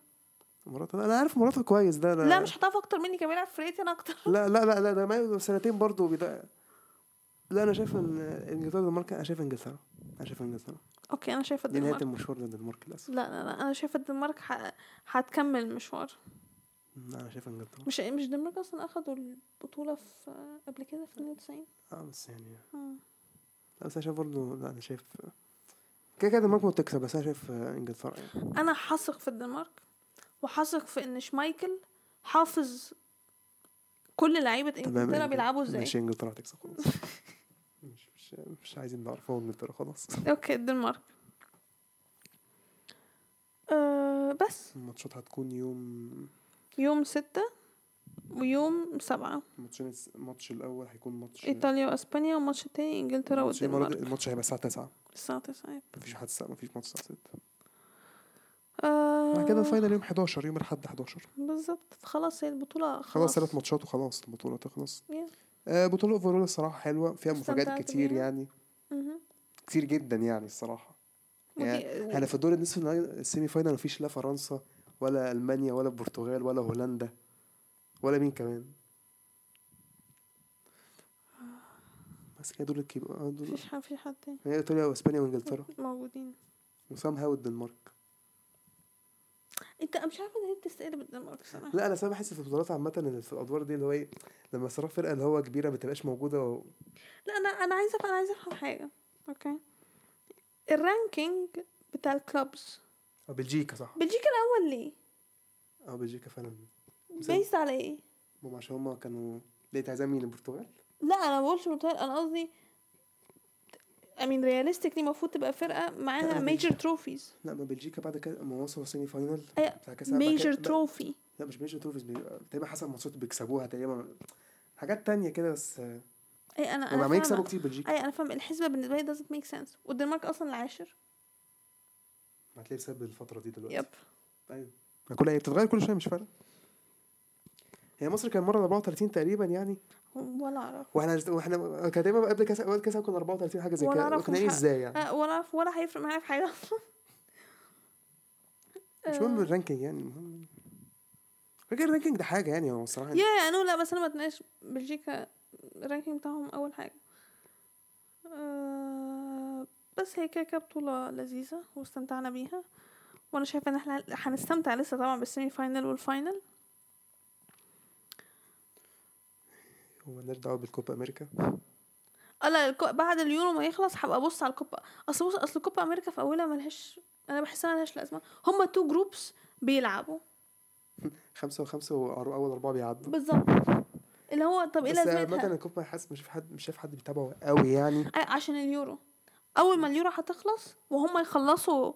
Speaker 2: مرات انا عارف مرات كويس ده أنا...
Speaker 1: لا مش هتعرف أكتر مني كمان بيلعب في ريتي أنا أكتر
Speaker 2: لا لا لا لا ده ما سنتين برضه بدا لا انا شايف ان انجلترا والدنمارك انا شايف انجلترا انا شايف انجلترا
Speaker 1: أوكي أنا شايفة
Speaker 2: دي نهايه
Speaker 1: الدنمارك
Speaker 2: المشوار للدنمارك للاسف
Speaker 1: لا لا لا أنا شايفة الدنمارك ه- هتكمل المشوار
Speaker 2: لا، انا شايف انجلترا
Speaker 1: مش مش الدنمارك أصلا أخدوا البطولة في قبل كده في 92
Speaker 2: اه بس يعني
Speaker 1: مم.
Speaker 2: لا بس انا شايف برضه لا انا شايف كده كده الدنمارك ممكن تكسب بس انا شايف انجلترا يعني
Speaker 1: انا حثق في الدنمارك وحثق في ان شمايكل حافظ كل لعيبه انجلترا
Speaker 2: إنجلترا.
Speaker 1: بيلعبوا ازاي
Speaker 2: ماشي انجلترا هتكسب خلاص مش مش مش عايزين نعرفه انجلترا خلاص
Speaker 1: اوكي الدنمارك أه بس
Speaker 2: الماتشات هتكون يوم
Speaker 1: يوم ستة ويوم سبعة
Speaker 2: ماتشين الماتش الاول هيكون ماتش
Speaker 1: إيطاليا وأسبانيا والماتش التاني إنجلترا
Speaker 2: ماتشين مرة-
Speaker 1: والدنمارك
Speaker 2: الماتش هيبقى الساعه 9
Speaker 1: الساعة تسعة
Speaker 2: مفيش حد مفيش ماتش الساعه 6
Speaker 1: أه
Speaker 2: بعد كده الفاينل يوم 11 يوم الاحد 11
Speaker 1: بالظبط خلاص هي البطولة
Speaker 2: خلاص
Speaker 1: خلاص
Speaker 2: ثلاث ماتشات وخلاص البطوله تخلص
Speaker 1: Yeah.
Speaker 2: آه، بطوله اوفرول الصراحه حلوه فيها مفاجات
Speaker 1: استمتعت
Speaker 2: كتير
Speaker 1: بيها؟
Speaker 2: يعني
Speaker 1: مهم.
Speaker 2: كتير جدا يعني الصراحه
Speaker 1: إيه.
Speaker 2: يعني احنا في الدور النصف النهائي- السيمي فاينال مفيش لا فرنسا ولا المانيا ولا البرتغال ولا هولندا ولا مين كمان بس كده دول الكبار آه، دول
Speaker 1: مفيش حد مفيش حد تاني
Speaker 2: هي ايطاليا واسبانيا وانجلترا
Speaker 1: موجودين
Speaker 2: وسام هاو الدنمارك
Speaker 1: انت مش عارفه ليه بتستقل بالدنمارك صراحه
Speaker 2: لا انا ساعات بحس في البطولات عامه ان في الادوار دي اللي هو ايه لما صراحة فرقه اللي هو كبيره ما بتبقاش موجوده و...
Speaker 1: لا انا انا عايزه أف- انا عايزه افهم حاجه اوكي الرانكينج بتاع الكلوبز
Speaker 2: اه بلجيكا صح
Speaker 1: بلجيكا الاول ليه
Speaker 2: اه بلجيكا فعلا بسبب-
Speaker 1: بيست على ايه
Speaker 2: هم عشان هم كانوا لقيت عايزين مين البرتغال
Speaker 1: لا انا ما بقولش برتغال انا قصدي امين رياليستيكلي المفروض تبقى فرقه معاها
Speaker 2: لا، بلجيكا.
Speaker 1: ميجر تروفيز
Speaker 2: لا ما بلجيكا بعد كده ما وصلوا سيمي فاينال
Speaker 1: أيوة،
Speaker 2: بتاع كاس العالم، بعد كده-
Speaker 1: ميجر
Speaker 2: لا،
Speaker 1: تروفي
Speaker 2: لا مش ميجر تروفيز بيبقى- تقريبا حسب ماتشات بيكسبوها تقريبا حاجات تانية كده بس آه،
Speaker 1: اي انا انا
Speaker 2: هم
Speaker 1: إيه،
Speaker 2: يكسبوا
Speaker 1: فاهمة.
Speaker 2: كتير بلجيكا
Speaker 1: اي انا فاهم الحسبه بالنسبه لي doesn't make sense والدنمارك اصلا العاشر
Speaker 2: هتلاقي بسبب الفترة دي دلوقتي
Speaker 1: يب
Speaker 2: ايوه ما كل هي بتتغير كل شوية مش فارقة هي مصر كان مرة 34 تقريبا يعني
Speaker 1: ولا اعرف
Speaker 2: واحنا واحنا كان دايما قبل كاس قبل كاس كنا 34 حاجة زي
Speaker 1: ولا
Speaker 2: كده
Speaker 1: أعرف
Speaker 2: كنا ايه
Speaker 1: الحق.
Speaker 2: ازاي يعني
Speaker 1: آه، ولا اعرف ولا هيفرق معايا في حاجه اصلا
Speaker 2: مش مهم
Speaker 1: آه.
Speaker 2: الرانكينج يعني المهم فاكر الرانكينج ده حاجة يعني هو الصراحة
Speaker 1: يا يا نو لا بس انا ما اتناقش بلجيكا الرانكينج بتاعهم اول حاجه آه، بس هي كده كده بطوله لذيذه واستمتعنا بيها وانا شايفه ان احنا هنستمتع لسه طبعا بالسيمي فاينل والفاينل
Speaker 2: هو مالناش دعوة بالكوبا امريكا
Speaker 1: اه لا الكو- بعد اليورو ما يخلص هبقى ابص على الكوبا اصل بص اصل كوبا امريكا في اولها ملهاش انا بحسها ملهاش لازمه هما تو جروبس بيلعبوا
Speaker 2: خمسة وخمسة وأول أربعة بيعدوا
Speaker 1: بالظبط اللي هو طب ايه
Speaker 2: بس مثلا
Speaker 1: لازمتها
Speaker 2: الكوبا حاسس مش في حد مش شايف حد بيتابعه قوي يعني
Speaker 1: أي- عشان اليورو اول ما اليورو هتخلص وهم يخلصوا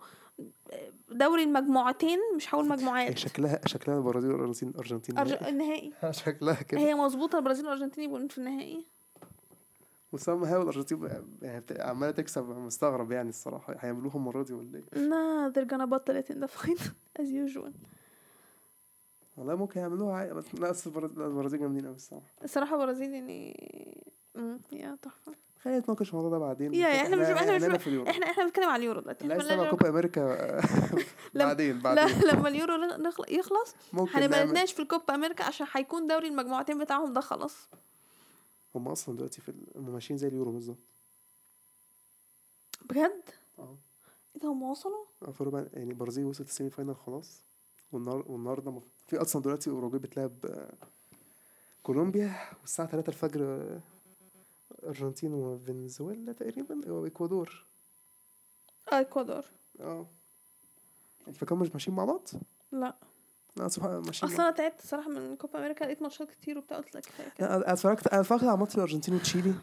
Speaker 1: آه، دوري المجموعتين مش هقول
Speaker 2: هي
Speaker 1: مجموعات
Speaker 2: شكلها شكلها البرازيل والارجنتين ارجنتين
Speaker 1: أرج... النهائي
Speaker 2: شكلها كده
Speaker 1: هي مظبوطه البرازيل والارجنتين يبقوا في النهائي
Speaker 2: وسام هاو الارجنتين بقى- يعني بت- عماله تكسب مستغرب يعني الصراحه هيعملوها المره دي ولا ايه؟
Speaker 1: نا they're gonna bottle it in the final as usual
Speaker 2: والله ممكن يعملوها عادي بس لا أصل البرازيل لا، البرازيل جامدين قوي الصراحه
Speaker 1: الصراحه البرازيل يعني مم، يا تحفه
Speaker 2: خلينا نتناقش في الموضوع ده بعدين
Speaker 1: يا- يا، إحنا مش- إحنا مش-
Speaker 2: هنعملها في اليورو
Speaker 1: احنا احنا بنتكلم على اليورو دلوقتي
Speaker 2: لا
Speaker 1: إحنا
Speaker 2: عايز تتابع
Speaker 1: بنلاقي-
Speaker 2: كوبا امريكا
Speaker 1: لما-
Speaker 2: بعدين
Speaker 1: لا
Speaker 2: بعدين
Speaker 1: لما اليورو نخل- يخلص
Speaker 2: ممكن
Speaker 1: هنبقى
Speaker 2: نعمل
Speaker 1: نتناقش في الكوبا امريكا عشان هيكون دوري المجموعتين بتاعهم ده خلاص
Speaker 2: هم اصلا دلوقتي في ال- هم ماشيين زي اليورو بالظبط
Speaker 1: بجد
Speaker 2: اه
Speaker 1: ايه ده هم وصلوا
Speaker 2: في ربع يعني البرازيل وصلت السيمي فاينال خلاص والنهار- والنهارده مف- في اصلا دلوقتي اوروجواي بتلعب آه، كولومبيا والساعه 3 الفجر آه، ارجنتين وفنزويلا تقريبا او اكوادور
Speaker 1: آه، اكوادور
Speaker 2: اه الفكرة مش ماشيين مع بعض؟
Speaker 1: لا
Speaker 2: لا سبحان الله ماشيين مع
Speaker 1: اصلا انا تعبت الصراحه من كوبا امريكا لقيت ماتشات كتير وبتاع قلت لك كفايه كده
Speaker 2: لا، انا اتفرجت انا اتفرجت على ماتش الارجنتين وتشيلي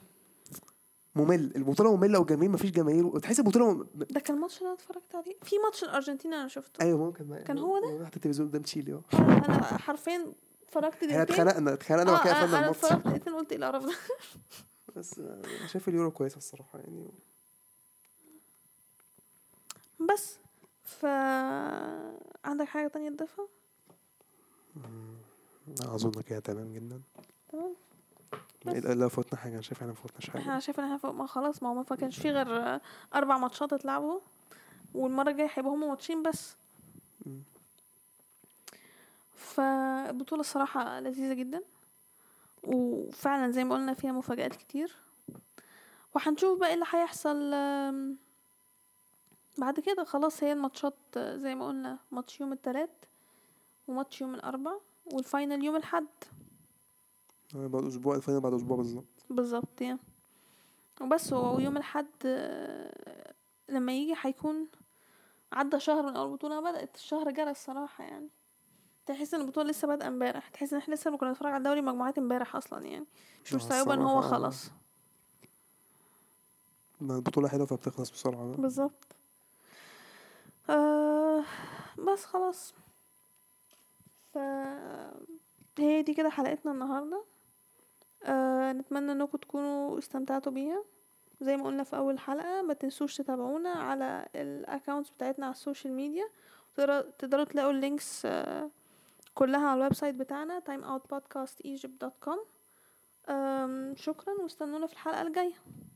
Speaker 2: ممل البطوله ممله والجماهير مفيش جماهير وتحس البطوله م...
Speaker 1: ده كان الماتش اللي انا اتفرجت عليه في ماتش الارجنتين انا شفته
Speaker 2: ايوه ممكن
Speaker 1: كان هو
Speaker 2: ده؟ رحت التلفزيون قدام تشيلي اه
Speaker 1: انا أنا حرفيا اتفرجت
Speaker 2: احنا
Speaker 1: دقيقتين
Speaker 2: اتخانقنا اتخانقنا
Speaker 1: آه،
Speaker 2: وبعد كده
Speaker 1: انا
Speaker 2: قفلنا
Speaker 1: أنا
Speaker 2: الماتش
Speaker 1: اتفرجت دقيقتين قلت ايه القرف ده
Speaker 2: بس آه، شايف اليورو كويسه الصراحه يعني
Speaker 1: بس ف عندك حاجه تانية تضيفها
Speaker 2: اظن كده تمام جدا
Speaker 1: تمام بس.
Speaker 2: إيه، لو فوتنا حاجه انا شايف احنا ما فوتناش
Speaker 1: احنا
Speaker 2: حاجه
Speaker 1: شايف ان احنا فوق ما خلاص ما هو ما كانش في غير آه، اربع ماتشات اتلعبوا والمره الجايه هيبقوا هما ماتشين بس
Speaker 2: مم.
Speaker 1: فالبطوله الصراحه لذيذه جدا وفعلا زي ما قلنا فيها مفاجآت كتير وهنشوف بقى ايه اللي هيحصل آم، بعد كده خلاص هي الماتشات آه، زي ما قلنا ماتش يوم الثلاث وماتش يوم الاربع والفاينل يوم الاحد
Speaker 2: آه، بعد اسبوع الفاينل بعد اسبوع بالظبط
Speaker 1: بالظبط يعني وبس هو يوم الحد آه، لما يجي هيكون عدى شهر من اول البطوله بدات الشهر جرى الصراحه يعني تحس ان البطوله لسه بادئه امبارح تحس ان احنا لسه كنا بنتفرج على دوري مجموعات امبارح اصلا يعني مش
Speaker 2: آه،
Speaker 1: مستوعبه ان هو
Speaker 2: الصراحة.
Speaker 1: خلص
Speaker 2: ما البطوله حلوه فبتخلص بسرعه بقى.
Speaker 1: بالظبط آه بس خلاص ف هي دي كده حلقتنا النهارده آه نتمنى انكم تكونوا استمتعتوا بيها زي ما قلنا في اول حلقه ما تنسوش تتابعونا على الاكونتس بتاعتنا على السوشيال ميديا تقدر- تقدروا تلاقوا اللينكس آه كلها على الويب سايت بتاعنا timeoutpodcastegypt.com آم، شكرا واستنونا في الحلقه الجايه